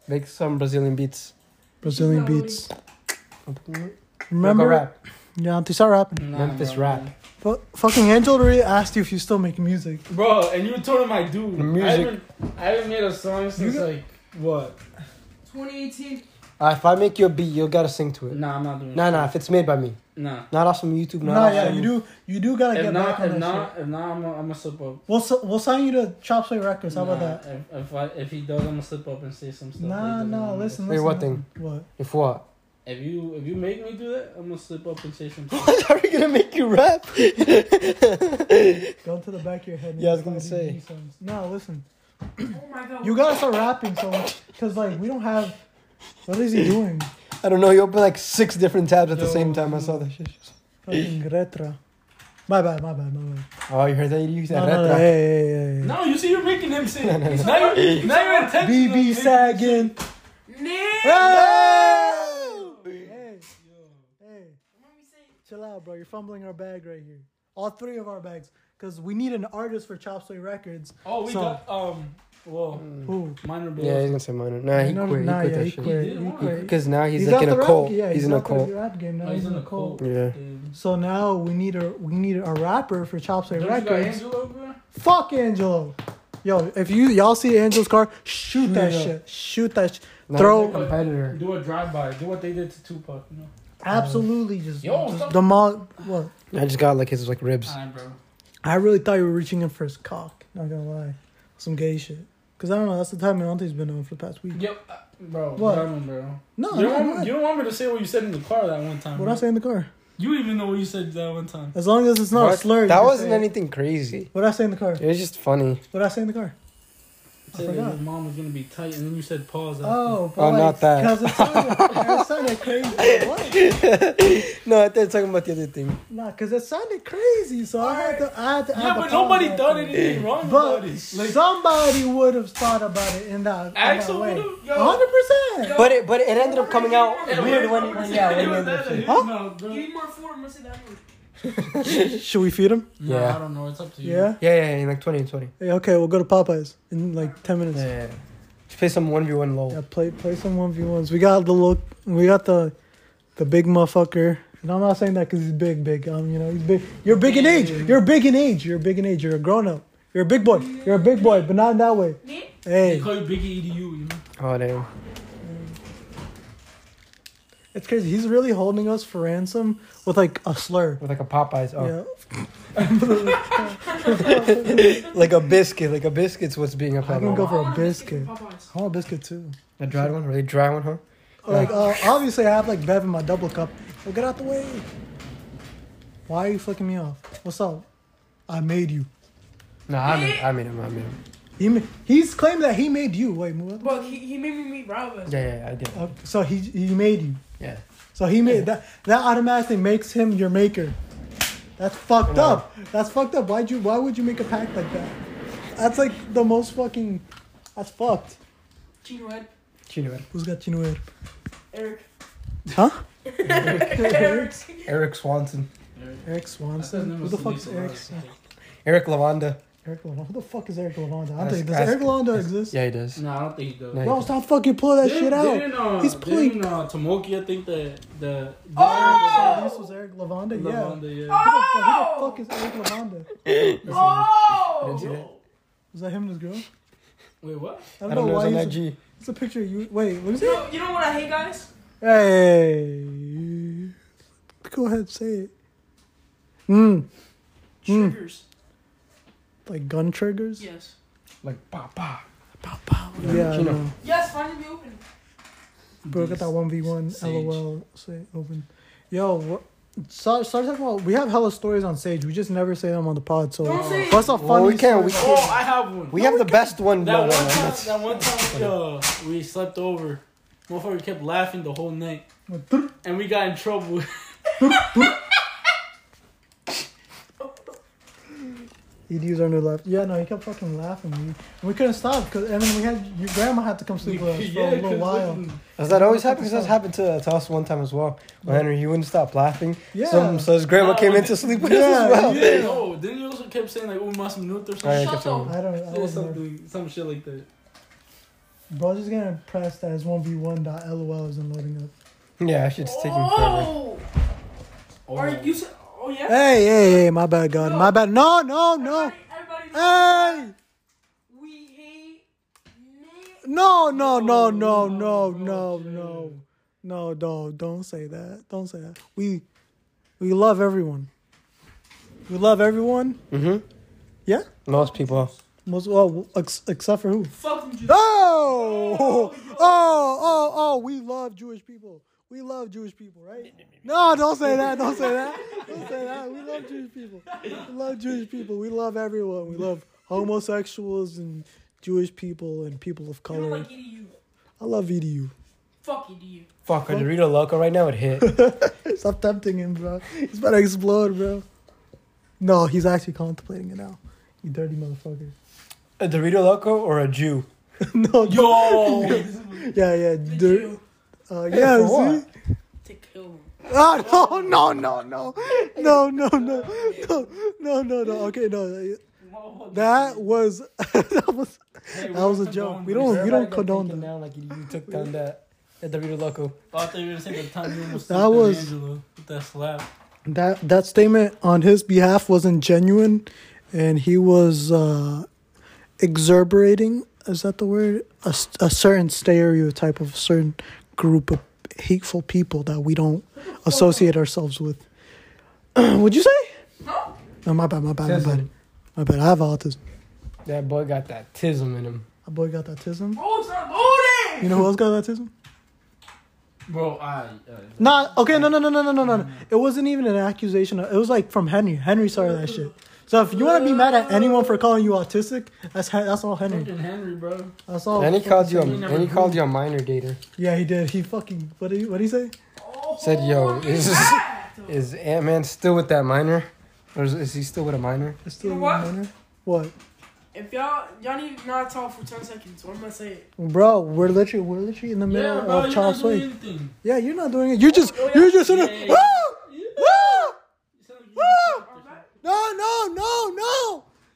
[SPEAKER 1] Make some Brazilian beats.
[SPEAKER 5] Brazilian
[SPEAKER 7] Not really.
[SPEAKER 5] beats.
[SPEAKER 1] Remember
[SPEAKER 5] Remember?
[SPEAKER 1] rap.
[SPEAKER 5] Yeah, Auntie, start rapping.
[SPEAKER 8] Nah,
[SPEAKER 1] Memphis
[SPEAKER 8] bro.
[SPEAKER 1] rap.
[SPEAKER 5] Fu- fucking Angel Marie asked you if you still make music.
[SPEAKER 8] Bro, and you told him I do.
[SPEAKER 1] The music.
[SPEAKER 8] I haven't, I haven't made a song since
[SPEAKER 5] got-
[SPEAKER 8] like what?
[SPEAKER 7] 2018.
[SPEAKER 1] Uh, if I make you a beat, you gotta sing to it.
[SPEAKER 8] Nah, I'm not doing.
[SPEAKER 1] Nah, nah. If it's made by me,
[SPEAKER 8] nah.
[SPEAKER 1] not off some YouTube. Not
[SPEAKER 5] Nah,
[SPEAKER 1] off
[SPEAKER 5] yeah,
[SPEAKER 1] some-
[SPEAKER 5] you do. You do gotta
[SPEAKER 8] If
[SPEAKER 5] get
[SPEAKER 8] not,
[SPEAKER 5] back on
[SPEAKER 8] if
[SPEAKER 5] that
[SPEAKER 8] not,
[SPEAKER 5] shit.
[SPEAKER 8] if not, I'm gonna I'm slip up.
[SPEAKER 5] We'll s- we'll sign you to Chop Suey Records. How
[SPEAKER 8] Nah,
[SPEAKER 5] about that?
[SPEAKER 8] If, if, I, if he does, I'm gonna slip up and say some stuff.
[SPEAKER 5] Nah,
[SPEAKER 8] that he doesn't
[SPEAKER 5] nah.
[SPEAKER 8] want me to
[SPEAKER 5] Listen, listen.
[SPEAKER 1] Wait, what thing?
[SPEAKER 5] What?
[SPEAKER 1] If what?
[SPEAKER 8] say. If you if you make me do that, I'm gonna slip up and say some. stuff.
[SPEAKER 1] How are we gonna make you rap?
[SPEAKER 5] Go to the back of your head. and
[SPEAKER 1] Yeah, I was gonna
[SPEAKER 5] decide if
[SPEAKER 1] say.
[SPEAKER 5] you do songs. No, listen.
[SPEAKER 7] Oh my god.
[SPEAKER 5] You gotta start rapping, so because like we don't have. What is he doing?
[SPEAKER 1] I don't know. You opened like six different tabs at the
[SPEAKER 8] Yo.
[SPEAKER 1] same time. I saw that shit.
[SPEAKER 5] Fucking retra. My bad, my bad, my bad.
[SPEAKER 1] Oh, you heard that? You said
[SPEAKER 5] No, no, no,
[SPEAKER 1] retro.
[SPEAKER 5] hey, hey, hey, hey.
[SPEAKER 8] No, you see, you're making him say. it. now you're now you're attempting. to
[SPEAKER 5] BB
[SPEAKER 8] make-
[SPEAKER 5] sagging.
[SPEAKER 7] Nah.
[SPEAKER 5] Hey! Hey, hey, chill out, bro. You're fumbling our bag right here. All three of our bags, because we need an artist for Chop Suey Records.
[SPEAKER 8] Oh, we
[SPEAKER 5] So-
[SPEAKER 8] got um. Whoa,
[SPEAKER 5] Who?
[SPEAKER 8] minor blow.
[SPEAKER 1] Yeah, he's gonna say minor. Nah, he
[SPEAKER 5] No,
[SPEAKER 1] quit.
[SPEAKER 5] nah,
[SPEAKER 1] he quit
[SPEAKER 5] yeah,
[SPEAKER 1] that
[SPEAKER 5] he
[SPEAKER 1] shit.
[SPEAKER 5] quit.
[SPEAKER 8] He did,
[SPEAKER 5] He
[SPEAKER 8] why?
[SPEAKER 5] quit.
[SPEAKER 1] Because now he's,
[SPEAKER 5] out
[SPEAKER 1] like in
[SPEAKER 5] the
[SPEAKER 1] a
[SPEAKER 5] rap-
[SPEAKER 1] cult.
[SPEAKER 5] Yeah,
[SPEAKER 1] he's, in a
[SPEAKER 5] out the
[SPEAKER 1] cult.
[SPEAKER 5] rap game now.
[SPEAKER 8] Oh,
[SPEAKER 5] he's, in a cult.
[SPEAKER 1] Yeah.
[SPEAKER 8] Dude.
[SPEAKER 5] So now we need a we need a rapper for Chop Suey
[SPEAKER 8] Don't you got
[SPEAKER 5] Records.
[SPEAKER 8] Angelo, bro?
[SPEAKER 5] Fuck Angelo. Yo, if you y'all see Angelo's car, shoot that
[SPEAKER 1] it up.
[SPEAKER 5] shit. Shoot that. Sh-
[SPEAKER 1] Now
[SPEAKER 5] Throw-
[SPEAKER 1] he's a competitor.
[SPEAKER 8] Do a drive by. Do what they did to Tupac. You know.
[SPEAKER 5] Absolutely, just,
[SPEAKER 8] Yo,
[SPEAKER 5] just
[SPEAKER 8] stop-
[SPEAKER 5] demol. What?
[SPEAKER 1] I just got like his like ribs.
[SPEAKER 8] Alright, bro.
[SPEAKER 5] I really thought you were reaching in for his cock. Not gonna lie, some gay shit. Cause I don't know. That's the time my auntie's been on for the past week.
[SPEAKER 8] Yo, uh, bro.
[SPEAKER 5] What?
[SPEAKER 8] What? bro.
[SPEAKER 5] No,
[SPEAKER 8] you,
[SPEAKER 5] no,
[SPEAKER 8] don't
[SPEAKER 5] I'm
[SPEAKER 8] want,
[SPEAKER 5] not.
[SPEAKER 8] you don't want me to say what you said in the car that one time.
[SPEAKER 5] What
[SPEAKER 8] bro.
[SPEAKER 5] I say in the car?
[SPEAKER 8] You even know what you said that one time.
[SPEAKER 5] As long as it's not a
[SPEAKER 1] What?
[SPEAKER 5] slur. you
[SPEAKER 1] That
[SPEAKER 5] can
[SPEAKER 1] wasn't
[SPEAKER 5] say it.
[SPEAKER 1] anything crazy.
[SPEAKER 5] What I say in the car?
[SPEAKER 1] It was just funny.
[SPEAKER 5] What I say in the car?
[SPEAKER 8] You said that
[SPEAKER 5] forgot.
[SPEAKER 8] your mom was gonna be tight, and then you said pause. after.
[SPEAKER 5] Oh,
[SPEAKER 1] Oh, not that.
[SPEAKER 5] Cause it sounded, it sounded crazy. What?
[SPEAKER 1] No, I thought you were talking about the other thing.
[SPEAKER 5] Nah, cause it sounded crazy. So I had to. I had to.
[SPEAKER 8] yeah,
[SPEAKER 5] add the
[SPEAKER 8] but nobody
[SPEAKER 5] pause
[SPEAKER 8] done
[SPEAKER 5] after.
[SPEAKER 8] anything wrong
[SPEAKER 5] But
[SPEAKER 8] about it. Like,
[SPEAKER 5] somebody would have thought about it in that. in that
[SPEAKER 8] Axel
[SPEAKER 5] way.
[SPEAKER 8] would've- yo.
[SPEAKER 5] 100%.
[SPEAKER 1] But it but it ended up coming out
[SPEAKER 8] it
[SPEAKER 1] weird
[SPEAKER 8] was-
[SPEAKER 1] when when yeah
[SPEAKER 8] it
[SPEAKER 1] when you
[SPEAKER 8] was
[SPEAKER 1] ended
[SPEAKER 8] that
[SPEAKER 1] up
[SPEAKER 8] in
[SPEAKER 1] saying.
[SPEAKER 8] his
[SPEAKER 5] Huh?
[SPEAKER 8] mouth, bro.
[SPEAKER 7] Give me more four. I'm gonna say that word.
[SPEAKER 5] Should we feed him?
[SPEAKER 8] Nah,
[SPEAKER 1] Yeah.
[SPEAKER 8] I don't know. It's up to you.
[SPEAKER 5] Yeah.
[SPEAKER 1] Yeah, yeah, in like 20 20.
[SPEAKER 5] Hey, okay, we'll go to Popeyes in like 10 minutes.
[SPEAKER 1] Yeah, yeah. yeah. Just play some 1v1 low.
[SPEAKER 5] Yeah, play play some one v ones. We got the look. We got the the big motherfucker. And I'm not saying that because he's big, big. Um, you know, he's big. You're big in age. You're big in age. You're big in age. You're a grown up. You're a big boy. You're a big boy, but not in that way.
[SPEAKER 7] Me?
[SPEAKER 8] They
[SPEAKER 5] Hey,
[SPEAKER 8] call you Biggie EDU, you know?
[SPEAKER 1] Oh damn.
[SPEAKER 5] it's crazy. He's really holding us for ransom with like a slur.
[SPEAKER 1] With like a Popeyes. Oh.
[SPEAKER 5] Yeah.
[SPEAKER 1] Like a biscuit. Like a biscuit's what's being
[SPEAKER 5] I'm
[SPEAKER 1] upheld.
[SPEAKER 5] gonna go
[SPEAKER 1] A
[SPEAKER 5] for a biscuit.
[SPEAKER 7] Popeyes.
[SPEAKER 5] I want a biscuit too.
[SPEAKER 1] dry one, really dry one, huh?
[SPEAKER 5] Like, uh, obviously, I have like Bev in my double cup. Well, get out the way. Why are you flicking me off? What's up? I made you.
[SPEAKER 1] No, I mean, I mean him. I mean him.
[SPEAKER 5] He ma- he's claimed that he made you. Wait, move up.
[SPEAKER 7] But he, he made me meet Robin.
[SPEAKER 1] Yeah, yeah, yeah, I did.
[SPEAKER 5] Uh, so he he made you.
[SPEAKER 1] Yeah.
[SPEAKER 5] So he made that that automatically makes him your maker. That's fucked up. That's fucked up. Why'd you why would you make a pact like that? That's like the most fucking that's fucked.
[SPEAKER 7] Chino Ed.
[SPEAKER 1] Chino Ed.
[SPEAKER 5] Who's got Chinuer?
[SPEAKER 7] Eric.
[SPEAKER 5] Huh?
[SPEAKER 7] Eric.
[SPEAKER 1] Eric Swanson.
[SPEAKER 5] Eric Swanson. Who the fuck's Eric Swanson?
[SPEAKER 1] Eric Lavanda.
[SPEAKER 5] Eric Lavanda. Who the fuck is Eric Lavanda? I don't
[SPEAKER 1] Ask-
[SPEAKER 5] think does
[SPEAKER 1] ask-
[SPEAKER 5] Eric Lavanda exist?
[SPEAKER 1] Yeah, he does.
[SPEAKER 8] No, I don't think so.
[SPEAKER 1] No, he
[SPEAKER 5] Bro,
[SPEAKER 1] does.
[SPEAKER 5] stop fucking pulling that shit out.
[SPEAKER 8] Didn't, uh,
[SPEAKER 5] He's playing-
[SPEAKER 8] Didn't, uh, Tomoki, I think the the. the
[SPEAKER 7] Oh!
[SPEAKER 5] This was Eric Lavanda,
[SPEAKER 8] the
[SPEAKER 5] yeah.
[SPEAKER 8] one, the, yeah.
[SPEAKER 5] Who
[SPEAKER 7] Oh!
[SPEAKER 5] the fuck- Who the fuck is Eric Lavanda?
[SPEAKER 7] Oh!
[SPEAKER 1] Did you see that?
[SPEAKER 5] Was that him and his girl?
[SPEAKER 8] Wait, what?
[SPEAKER 5] I don't,
[SPEAKER 1] I don't
[SPEAKER 5] know
[SPEAKER 1] know.
[SPEAKER 5] why
[SPEAKER 1] It's on
[SPEAKER 5] he's a,
[SPEAKER 1] IG.
[SPEAKER 5] it's a picture of you wait, let me
[SPEAKER 7] You
[SPEAKER 5] see.
[SPEAKER 7] know, you know what I hate, guys?
[SPEAKER 5] Hey. Go ahead, say it. Mm,
[SPEAKER 7] Triggers.
[SPEAKER 5] like gun triggers?
[SPEAKER 7] Yes.
[SPEAKER 1] Like papa.
[SPEAKER 5] Yeah, I
[SPEAKER 1] Chino.
[SPEAKER 5] know.
[SPEAKER 7] Yes, finally be open.
[SPEAKER 5] Bro, get that 1v1,
[SPEAKER 8] Sage.
[SPEAKER 5] lol, say open. Yo, what? Start, start talking about. We have hella stories on Sage. We just never say them on the pod. So
[SPEAKER 7] Don't say-
[SPEAKER 5] what's a funny?
[SPEAKER 1] Well, we can't. We
[SPEAKER 5] story?
[SPEAKER 8] Oh,
[SPEAKER 1] can't.
[SPEAKER 8] I have one.
[SPEAKER 1] We have the best one.
[SPEAKER 8] That
[SPEAKER 1] No, no,
[SPEAKER 8] one
[SPEAKER 1] no.
[SPEAKER 8] time,
[SPEAKER 1] that's-
[SPEAKER 8] that one time we, uh, we slept over. Motherfucker kept laughing the whole night. And we got in trouble.
[SPEAKER 5] He'd use our new left. Yeah, no, he kept fucking laughing. We, we couldn't stop because I mean, we had your grandma had to come sleep with us for a little
[SPEAKER 8] 'cause
[SPEAKER 5] while.
[SPEAKER 8] listen,
[SPEAKER 1] Does that always happen? Because that's happened to, to us one time as well. When Henry, he wouldn't stop laughing.
[SPEAKER 5] Yeah.
[SPEAKER 1] Some, so his grandma
[SPEAKER 8] Nah,
[SPEAKER 1] came in
[SPEAKER 8] when-
[SPEAKER 1] to sleep with us
[SPEAKER 5] Yeah,
[SPEAKER 1] as well.
[SPEAKER 8] Yeah, no, then you also kept saying, like, oh, we must mute or
[SPEAKER 1] Oh, yeah,
[SPEAKER 8] something.
[SPEAKER 1] I kept
[SPEAKER 7] Shut
[SPEAKER 1] saying-
[SPEAKER 7] up.
[SPEAKER 5] I don't. I
[SPEAKER 8] Say
[SPEAKER 5] was never,
[SPEAKER 8] something, some shit like that.
[SPEAKER 5] bro, just getting impressed that his one v one dot lol isn't loading up.
[SPEAKER 1] yeah, I should just take him forever.
[SPEAKER 7] Oh! Are you s Oh, yeah?
[SPEAKER 5] Hey, hey, hey! My bad, God. My bad. No, no, no.
[SPEAKER 7] Everybody, everybody
[SPEAKER 5] Hey!
[SPEAKER 7] we hate me.
[SPEAKER 5] No, no, no, no, no, no, no, no, no! Don't say that. Don't say that. We, we love everyone. We love everyone.
[SPEAKER 1] Mhm.
[SPEAKER 5] Yeah.
[SPEAKER 1] Most people.
[SPEAKER 5] Most well, ex- except for who?
[SPEAKER 7] Fuck you.
[SPEAKER 5] Oh, oh, oh, oh! We love Jewish people. We love Jewish people, right? No, don't say that. Don't say that. Don't say that. We love Jewish people. We love Jewish people. We love everyone. We love homosexuals and Jewish people and people of
[SPEAKER 7] You don't
[SPEAKER 5] color.
[SPEAKER 7] like EDU.
[SPEAKER 5] I love EDU.
[SPEAKER 7] Fuck EDU.
[SPEAKER 1] Fuck, a Dorito Loco right now would hit.
[SPEAKER 5] Stop tempting him, bro. He's about to explode, bro. No, he's actually contemplating it now. You dirty motherfucker.
[SPEAKER 1] a Dorito Loco or a Jew?
[SPEAKER 5] no,
[SPEAKER 8] Yo!
[SPEAKER 5] yeah, yeah,
[SPEAKER 7] The
[SPEAKER 5] dirt.
[SPEAKER 7] Jew.
[SPEAKER 5] Uh, yeah,
[SPEAKER 1] for
[SPEAKER 5] see?
[SPEAKER 1] what?
[SPEAKER 7] To kill him.
[SPEAKER 5] Ah, no, no, no, no, no, no, no, no, no, no, no. Okay, no, that was that was that was a joke. We don't we don't condone that.
[SPEAKER 1] Down like you, you took down that, that Dorito Loco.
[SPEAKER 8] Oh, I thought you were gonna say the time you almost
[SPEAKER 5] That
[SPEAKER 8] slept on
[SPEAKER 5] was-
[SPEAKER 8] Angelo with that slap.
[SPEAKER 5] That that statement on his behalf wasn't genuine, and he was uh, exuberating. Is that the word? A, s- a certain stereotype of a certain group of hateful people that we don't associate ourselves with. Would you say?
[SPEAKER 7] Huh?
[SPEAKER 5] No, my bad, my bad, my bad.
[SPEAKER 1] Tism.
[SPEAKER 5] My bad. I have autism.
[SPEAKER 1] That boy got that tism in him.
[SPEAKER 5] My boy got autism.
[SPEAKER 7] Oh, it's not loading!
[SPEAKER 5] You know who else got autism?
[SPEAKER 8] Bro, I. Uh,
[SPEAKER 5] Not okay. No, no, no, no, no, no, no. no. It wasn't even an accusation. It was like from Henry. Henry started that shit. So if you want to be mad at anyone for calling you autistic, that's Hen- that's all Henry.
[SPEAKER 8] fucking Henry, bro.
[SPEAKER 5] That's all.
[SPEAKER 1] And he called you a,
[SPEAKER 8] he never
[SPEAKER 1] and he called you a minor dater.
[SPEAKER 5] Yeah, he did. He fucking. What did he? What did he say?
[SPEAKER 7] Oh,
[SPEAKER 1] Said, yo,
[SPEAKER 7] look
[SPEAKER 1] is,
[SPEAKER 7] at that.
[SPEAKER 1] is Ant Man still with that minor? Or is, is he still with a minor?
[SPEAKER 5] It's still
[SPEAKER 7] You know what?
[SPEAKER 5] minor. What,
[SPEAKER 7] If y'all, y'all need to not talk for 10 seconds, what am I saying?
[SPEAKER 5] bro? We're literally we're literally in the middle
[SPEAKER 8] Yeah, bro,
[SPEAKER 5] of
[SPEAKER 8] you
[SPEAKER 5] child
[SPEAKER 8] not doing
[SPEAKER 5] sway.
[SPEAKER 8] anything.
[SPEAKER 5] Yeah, you're not doing it. You're just
[SPEAKER 7] oh, yeah.
[SPEAKER 5] you're just in a.
[SPEAKER 8] Yeah, yeah,
[SPEAKER 5] Ah! Ah!
[SPEAKER 8] You sound like you-
[SPEAKER 5] No, no, no, no,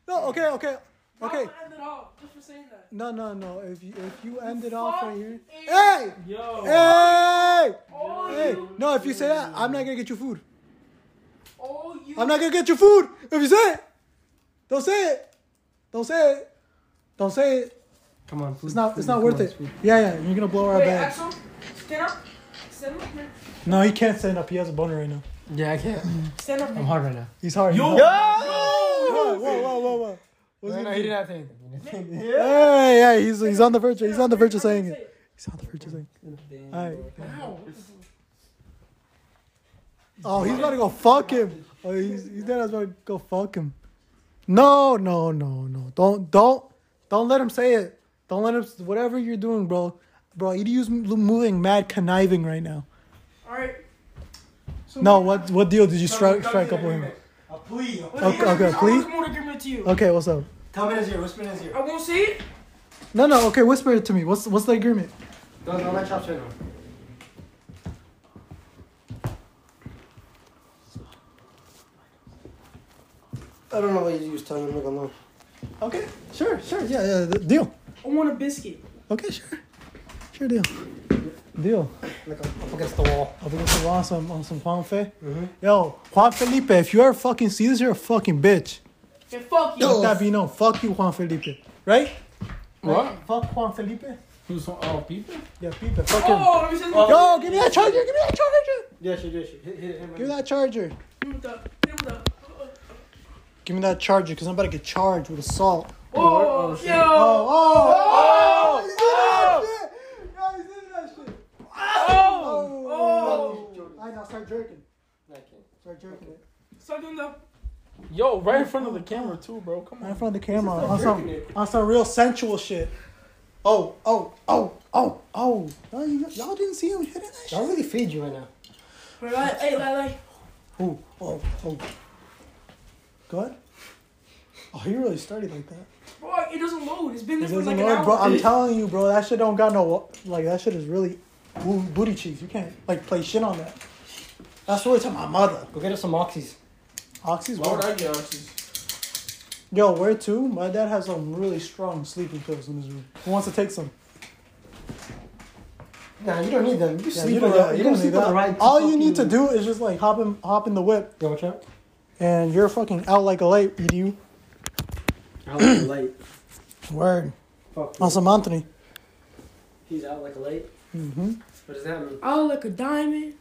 [SPEAKER 5] no. Okay, okay, okay.
[SPEAKER 7] I'm gonna end it all just for saying that.
[SPEAKER 5] No, no, no. If you if you end it off right here,
[SPEAKER 7] Fuck
[SPEAKER 5] hey,
[SPEAKER 8] Yo!
[SPEAKER 5] hey.
[SPEAKER 7] All
[SPEAKER 5] Hey,
[SPEAKER 7] you,
[SPEAKER 5] no, if you say that, I'm not gonna get you food.
[SPEAKER 7] all Oh, you.
[SPEAKER 5] I'm not gonna get you food if you say it. Don't say it. Don't say it. Don't say it.
[SPEAKER 9] Come on, food,
[SPEAKER 5] It's not.
[SPEAKER 9] food,
[SPEAKER 5] It's not
[SPEAKER 9] come
[SPEAKER 5] worth
[SPEAKER 9] on,
[SPEAKER 5] it.
[SPEAKER 9] food.
[SPEAKER 5] Yeah, yeah. You're gonna blow our
[SPEAKER 7] Wait,
[SPEAKER 5] bag.
[SPEAKER 7] Axel, stand up. Stand up. man.
[SPEAKER 5] No, he can't stand up. He has a boner right now.
[SPEAKER 9] Yeah, I can't.
[SPEAKER 7] Stand up.
[SPEAKER 9] I'm
[SPEAKER 7] man.
[SPEAKER 9] hard right now.
[SPEAKER 5] He's hard. Yo. Whoa, whoa, whoa, whoa, whoa. What's
[SPEAKER 9] No, no,
[SPEAKER 5] he doing?
[SPEAKER 9] he didn't have anything.
[SPEAKER 5] Hey, yeah, he's he's on the verge. He's on the verge of saying it. He's on the verge of saying. it. All right. Oh, he's about to go fuck him. Oh, he's he's dead. I was about to go fuck him. No, no, no, no. Don't don't don't let him say it. Don't let him. Whatever you're doing, bro, bro. EDU's m- moving mad conniving right now.
[SPEAKER 7] All right.
[SPEAKER 5] No, what what deal did you strike strike up with him?
[SPEAKER 1] A plea.
[SPEAKER 5] Okay, okay,
[SPEAKER 7] I
[SPEAKER 5] please.
[SPEAKER 7] want more agreement to you.
[SPEAKER 5] Okay, what's up?
[SPEAKER 1] Come in his ear. Whisper in his ear.
[SPEAKER 7] I won't say it.
[SPEAKER 5] No, no. Okay, whisper it to me. What's what's the agreement?
[SPEAKER 1] Don't, don't let Chops in him. I don't know what he was telling him. Like, I'm not.
[SPEAKER 5] Okay, sure, sure. Yeah, yeah. the- Deal.
[SPEAKER 7] I want a biscuit.
[SPEAKER 5] Okay, sure. Sure deal. Deal.
[SPEAKER 1] Like, I'm up against the wall.
[SPEAKER 5] Up against the wall on some, on some Juan Fe. Yo, Juan Felipe, if you ever fucking see this, you're a fucking bitch.
[SPEAKER 7] Yeah, fuck you.
[SPEAKER 5] Let that be known. Fuck you, Juan Felipe. Right?
[SPEAKER 8] What?
[SPEAKER 5] Fuck Juan Felipe.
[SPEAKER 8] Who's on? Oh, people?
[SPEAKER 5] Yeah, Felipe. Fuck him.
[SPEAKER 7] Oh, let me send him.
[SPEAKER 5] Yo, give me that charger. Give me that charger.
[SPEAKER 1] Yeah, she did. She hit, hit him.
[SPEAKER 5] Give me that charger.
[SPEAKER 7] Hit him with the. Hit him with the. Oh,
[SPEAKER 5] Give me that charger because I'm about to get charged with assault.
[SPEAKER 7] Oh,
[SPEAKER 5] Oh,
[SPEAKER 7] yo.
[SPEAKER 5] oh, oh, oh, oh, he's doing that shit. Yo, he's doing that shit.
[SPEAKER 7] Oh, oh.
[SPEAKER 5] I know, start jerking. Start jerking it.
[SPEAKER 7] Suck him the.
[SPEAKER 8] Yo, right in front of the camera too, bro. Come
[SPEAKER 5] Right in
[SPEAKER 8] on.
[SPEAKER 5] front of the camera on some, on some real sensual shit. Oh, oh, oh, oh, oh. Y'all, you- y'all didn't see him hitting that shit?
[SPEAKER 1] Don't really feed you right now.
[SPEAKER 7] Wait, like, hey, like, like.
[SPEAKER 5] Oh, oh, oh. Go ahead. Oh, he really started like that.
[SPEAKER 7] Bro, it doesn't load. It's been there
[SPEAKER 5] It
[SPEAKER 7] for
[SPEAKER 5] doesn't
[SPEAKER 7] like an
[SPEAKER 5] work,
[SPEAKER 7] hour.
[SPEAKER 5] bro. I'm telling you, bro, that shit don't got no, like, that shit is really boo- booty cheeks. You can't, like, play shit on that. That's really to my mother.
[SPEAKER 1] Go get us some oxys.
[SPEAKER 5] Oxy's
[SPEAKER 8] Why would
[SPEAKER 5] word.
[SPEAKER 8] I get oxys?
[SPEAKER 5] Yo, where to? My dad has some really strong sleeping pills in his room. Who wants to take some?
[SPEAKER 1] Nah, you don't need them. You
[SPEAKER 5] Yeah,
[SPEAKER 1] sleep
[SPEAKER 5] you
[SPEAKER 1] on
[SPEAKER 5] don't,
[SPEAKER 1] the.
[SPEAKER 5] you
[SPEAKER 1] You can
[SPEAKER 5] don't need
[SPEAKER 1] sleep on
[SPEAKER 5] that.
[SPEAKER 1] the right.
[SPEAKER 5] All you need to do is just like hop in, hop in the whip,
[SPEAKER 1] Yo, what's up?
[SPEAKER 5] and you're fucking out like a light, edu.
[SPEAKER 1] Out like a light.
[SPEAKER 5] Word.
[SPEAKER 1] Fuck.
[SPEAKER 5] On some Anthony.
[SPEAKER 1] He's out like a light.
[SPEAKER 5] Mm-hmm.
[SPEAKER 1] What does that mean?
[SPEAKER 7] I look like a diamond.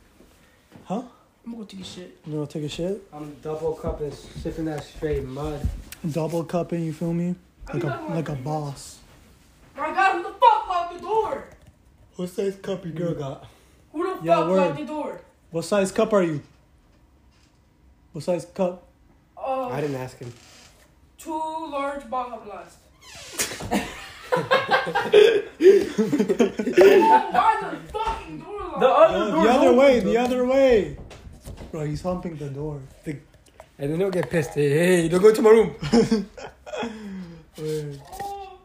[SPEAKER 5] Huh?
[SPEAKER 7] I'm gonna go take a shit.
[SPEAKER 5] You gonna take a shit?
[SPEAKER 1] I'm double cupping, sipping that straight mud.
[SPEAKER 5] Double cupping, you feel me? Like a like a boss.
[SPEAKER 7] My God, who the fuck locked the door?
[SPEAKER 5] What size cup you girl got?
[SPEAKER 7] Who the
[SPEAKER 5] Yeah,
[SPEAKER 7] fuck
[SPEAKER 5] word.
[SPEAKER 7] locked the door?
[SPEAKER 5] What size cup are you? What size cup?
[SPEAKER 7] Uh,
[SPEAKER 1] I didn't ask him.
[SPEAKER 7] two large Baja Blast. Why the fucking door locked?
[SPEAKER 5] Uh, the other way, the other way. Bro, he's humping the door.
[SPEAKER 1] And then he'll get pissed. Hey, hey, don't go to my room.
[SPEAKER 5] Word.
[SPEAKER 7] Oh,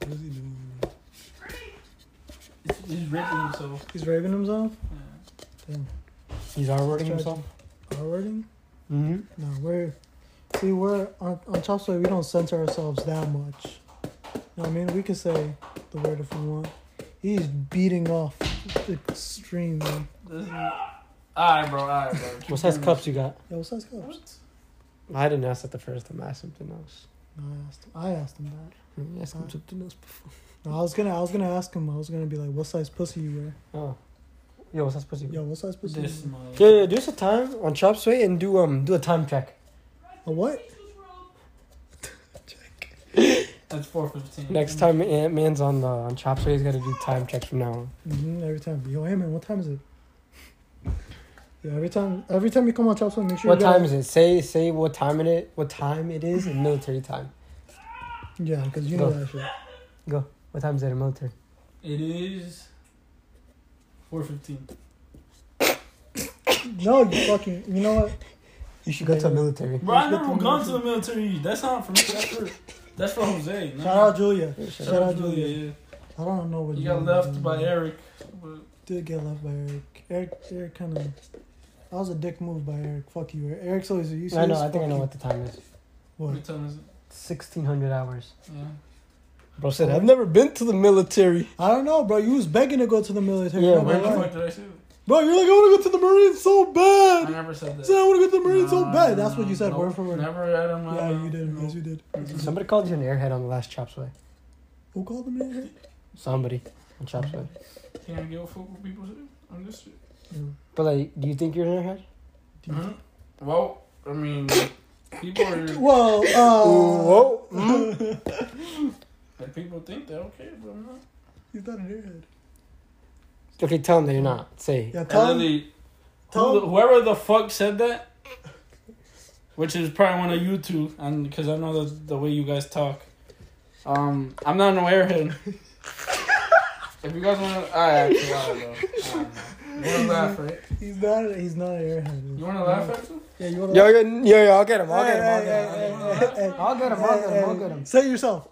[SPEAKER 5] What is he doing?
[SPEAKER 7] great.
[SPEAKER 8] He's ripping himself.
[SPEAKER 5] He's raving himself.
[SPEAKER 1] He's R-wording himself.
[SPEAKER 5] Already?
[SPEAKER 1] Mm-hmm.
[SPEAKER 5] No, we're see we're on on Chop Suey. We don't censor ourselves that much. You know what I mean? We can say the word if we want. He's beating off extremely.
[SPEAKER 8] This is... Alright, bro. Alright, bro.
[SPEAKER 1] What size cups you got?
[SPEAKER 5] Yo, what's that cups?
[SPEAKER 1] I didn't ask that the first time. I asked something else.
[SPEAKER 5] No, I asked him. I asked him that.
[SPEAKER 1] I asked
[SPEAKER 5] him
[SPEAKER 1] something else before.
[SPEAKER 5] No, I was gonna. I was gonna ask him. I was gonna be like, "What size pussy you wear?"
[SPEAKER 1] Oh. Yo, what's that supposed to be?
[SPEAKER 5] Yo, what size pussy?
[SPEAKER 8] This
[SPEAKER 5] you
[SPEAKER 8] my.
[SPEAKER 1] Yeah, yeah, do us a time on Chop Suey and do um do a time check.
[SPEAKER 5] wear? A what?
[SPEAKER 8] That's four fifteen.
[SPEAKER 1] Next time Ant Man's on the on Chop Suey, he's gotta do time checks from now on.
[SPEAKER 5] hmm every time. Yo, hey man, what time is it? Yeah, every time. Every time you come on Chop Suey, make sure.
[SPEAKER 1] What
[SPEAKER 5] you
[SPEAKER 1] time is it? Say say what time it is. What time it is in military time.
[SPEAKER 5] it? Yeah, because you know
[SPEAKER 1] Go.
[SPEAKER 5] that shit.
[SPEAKER 1] What time is it in military?
[SPEAKER 8] It is four fifteen.
[SPEAKER 5] No, you fucking. You know what?
[SPEAKER 1] You should go to
[SPEAKER 5] Yeah.
[SPEAKER 1] military.
[SPEAKER 8] Bro, I never gone to the military. That's not for me. That's for that's for Jose. No.
[SPEAKER 5] Shout out Julia.
[SPEAKER 8] Shout
[SPEAKER 5] Shout
[SPEAKER 8] out
[SPEAKER 5] out Julia. I don't know
[SPEAKER 8] Yeah.
[SPEAKER 5] what
[SPEAKER 8] You
[SPEAKER 5] Julia
[SPEAKER 8] got
[SPEAKER 5] did.
[SPEAKER 8] left by Eric. But
[SPEAKER 5] Did get left by Eric. Eric, Eric kind of. That was a dick move by Eric. Fuck you, Eric. Eric's always you.
[SPEAKER 1] I
[SPEAKER 5] serious?
[SPEAKER 1] know. I think I
[SPEAKER 5] Fuck
[SPEAKER 1] know
[SPEAKER 5] you.
[SPEAKER 1] what the time is.
[SPEAKER 5] What?
[SPEAKER 8] what time is it?
[SPEAKER 1] Sixteen hundred hours.
[SPEAKER 8] Yeah.
[SPEAKER 1] Bro said I've never been to the military.
[SPEAKER 5] I don't know, bro. You was begging to go to the military.
[SPEAKER 1] Yeah,
[SPEAKER 5] bro.
[SPEAKER 1] where
[SPEAKER 8] Where the
[SPEAKER 5] Why?
[SPEAKER 8] fuck did I say that?
[SPEAKER 5] Bro, you're like, I want to go to the Marines so
[SPEAKER 8] I
[SPEAKER 5] bad.
[SPEAKER 8] never said that.
[SPEAKER 5] Say, I want to go to the Marines
[SPEAKER 8] No,
[SPEAKER 5] so bad.
[SPEAKER 8] no,
[SPEAKER 5] That's what you said,
[SPEAKER 8] no.
[SPEAKER 5] word for word.
[SPEAKER 8] Never out of my
[SPEAKER 5] Yeah,
[SPEAKER 8] mouth.
[SPEAKER 5] you did.
[SPEAKER 8] No.
[SPEAKER 5] Yes, you did.
[SPEAKER 1] Somebody called you an airhead on the last chop sway.
[SPEAKER 5] Who called him an
[SPEAKER 1] Somebody on chop sway.
[SPEAKER 8] Can I give a fuck what people say on this shit?
[SPEAKER 1] But like, do you think you're an airhead?
[SPEAKER 8] Huh? Well, I mean, people
[SPEAKER 5] airhead?
[SPEAKER 8] are.
[SPEAKER 5] Well, uh.
[SPEAKER 1] Mm-hmm.
[SPEAKER 8] Like, people think that okay, but I'm not.
[SPEAKER 5] He's not an airhead.
[SPEAKER 1] Okay, tell them that you're not. Say.
[SPEAKER 5] Yeah,
[SPEAKER 8] And
[SPEAKER 5] tell
[SPEAKER 8] then
[SPEAKER 5] him.
[SPEAKER 8] they,
[SPEAKER 5] Tell
[SPEAKER 8] who,
[SPEAKER 5] him.
[SPEAKER 8] whoever the fuck said that, which is probably one of you two, and because I know the, the way you guys talk. Um, I'm not an airhead. if you guys want to, I actually I don't know. I don't know. You want to laugh, right?
[SPEAKER 5] He's not, he's not an airhead.
[SPEAKER 8] You want to laugh, actually?
[SPEAKER 5] Yeah, you want to
[SPEAKER 1] Yo, yo, yo, yo, I'll get him. I'll
[SPEAKER 5] Hey,
[SPEAKER 1] get him. I'll
[SPEAKER 5] hey,
[SPEAKER 1] get him.
[SPEAKER 5] hey,
[SPEAKER 8] I'll
[SPEAKER 5] hey,
[SPEAKER 8] get him.
[SPEAKER 5] hey,
[SPEAKER 1] I'll get him. I'll get him. I'll get him.
[SPEAKER 5] Say yourself.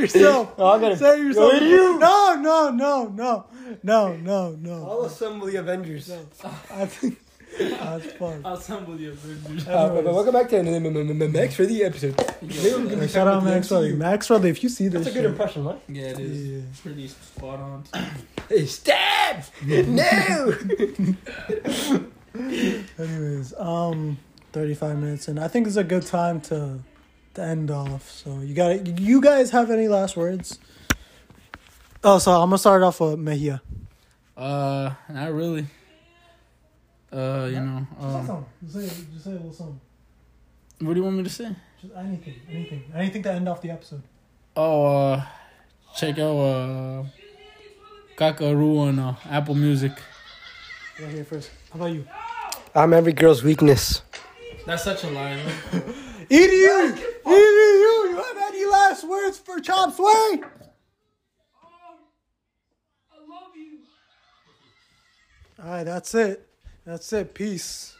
[SPEAKER 5] yourself.
[SPEAKER 1] I'll get him.
[SPEAKER 5] Say yourself.
[SPEAKER 1] Yo, you.
[SPEAKER 5] No, no, no, no, no, no, no.
[SPEAKER 6] assemble the Avengers.
[SPEAKER 1] Uh,
[SPEAKER 5] I think that's fun.
[SPEAKER 8] I'll assemble you. dude.
[SPEAKER 1] Uh, but- but welcome back to another M- M- M- M- Max for the episode. Maybe we can
[SPEAKER 5] Hey,
[SPEAKER 1] be
[SPEAKER 5] Shout out
[SPEAKER 1] talking
[SPEAKER 5] Max
[SPEAKER 1] about
[SPEAKER 5] Rutherford.
[SPEAKER 1] the MCU.
[SPEAKER 5] Max Rutherford, if you see this,
[SPEAKER 1] That's a good
[SPEAKER 5] shit,
[SPEAKER 1] impression, right?
[SPEAKER 8] Yeah, it is.
[SPEAKER 5] Yeah.
[SPEAKER 8] Pretty spot on.
[SPEAKER 1] Hey, stab! no!
[SPEAKER 5] Anyways, um, thirty-five minutes, and I think it's a good time to, to end off. So you got You guys have any last words? Oh, so I'm gonna start off with Mejia.
[SPEAKER 8] Uh, not really. Uh, you know, um,
[SPEAKER 5] Just say, just say a little something.
[SPEAKER 8] what do you want me to say?
[SPEAKER 5] Just anything, anything, anything to end off the episode.
[SPEAKER 8] Oh, uh, check out uh, Kakaru on uh, Apple Music.
[SPEAKER 5] Right here first. How about you?
[SPEAKER 1] I'm every girl's weakness.
[SPEAKER 8] That's such a lie.
[SPEAKER 5] EDU! EDU! You have any last words for Chop Sway? Alright, that's it. That's it. Peace.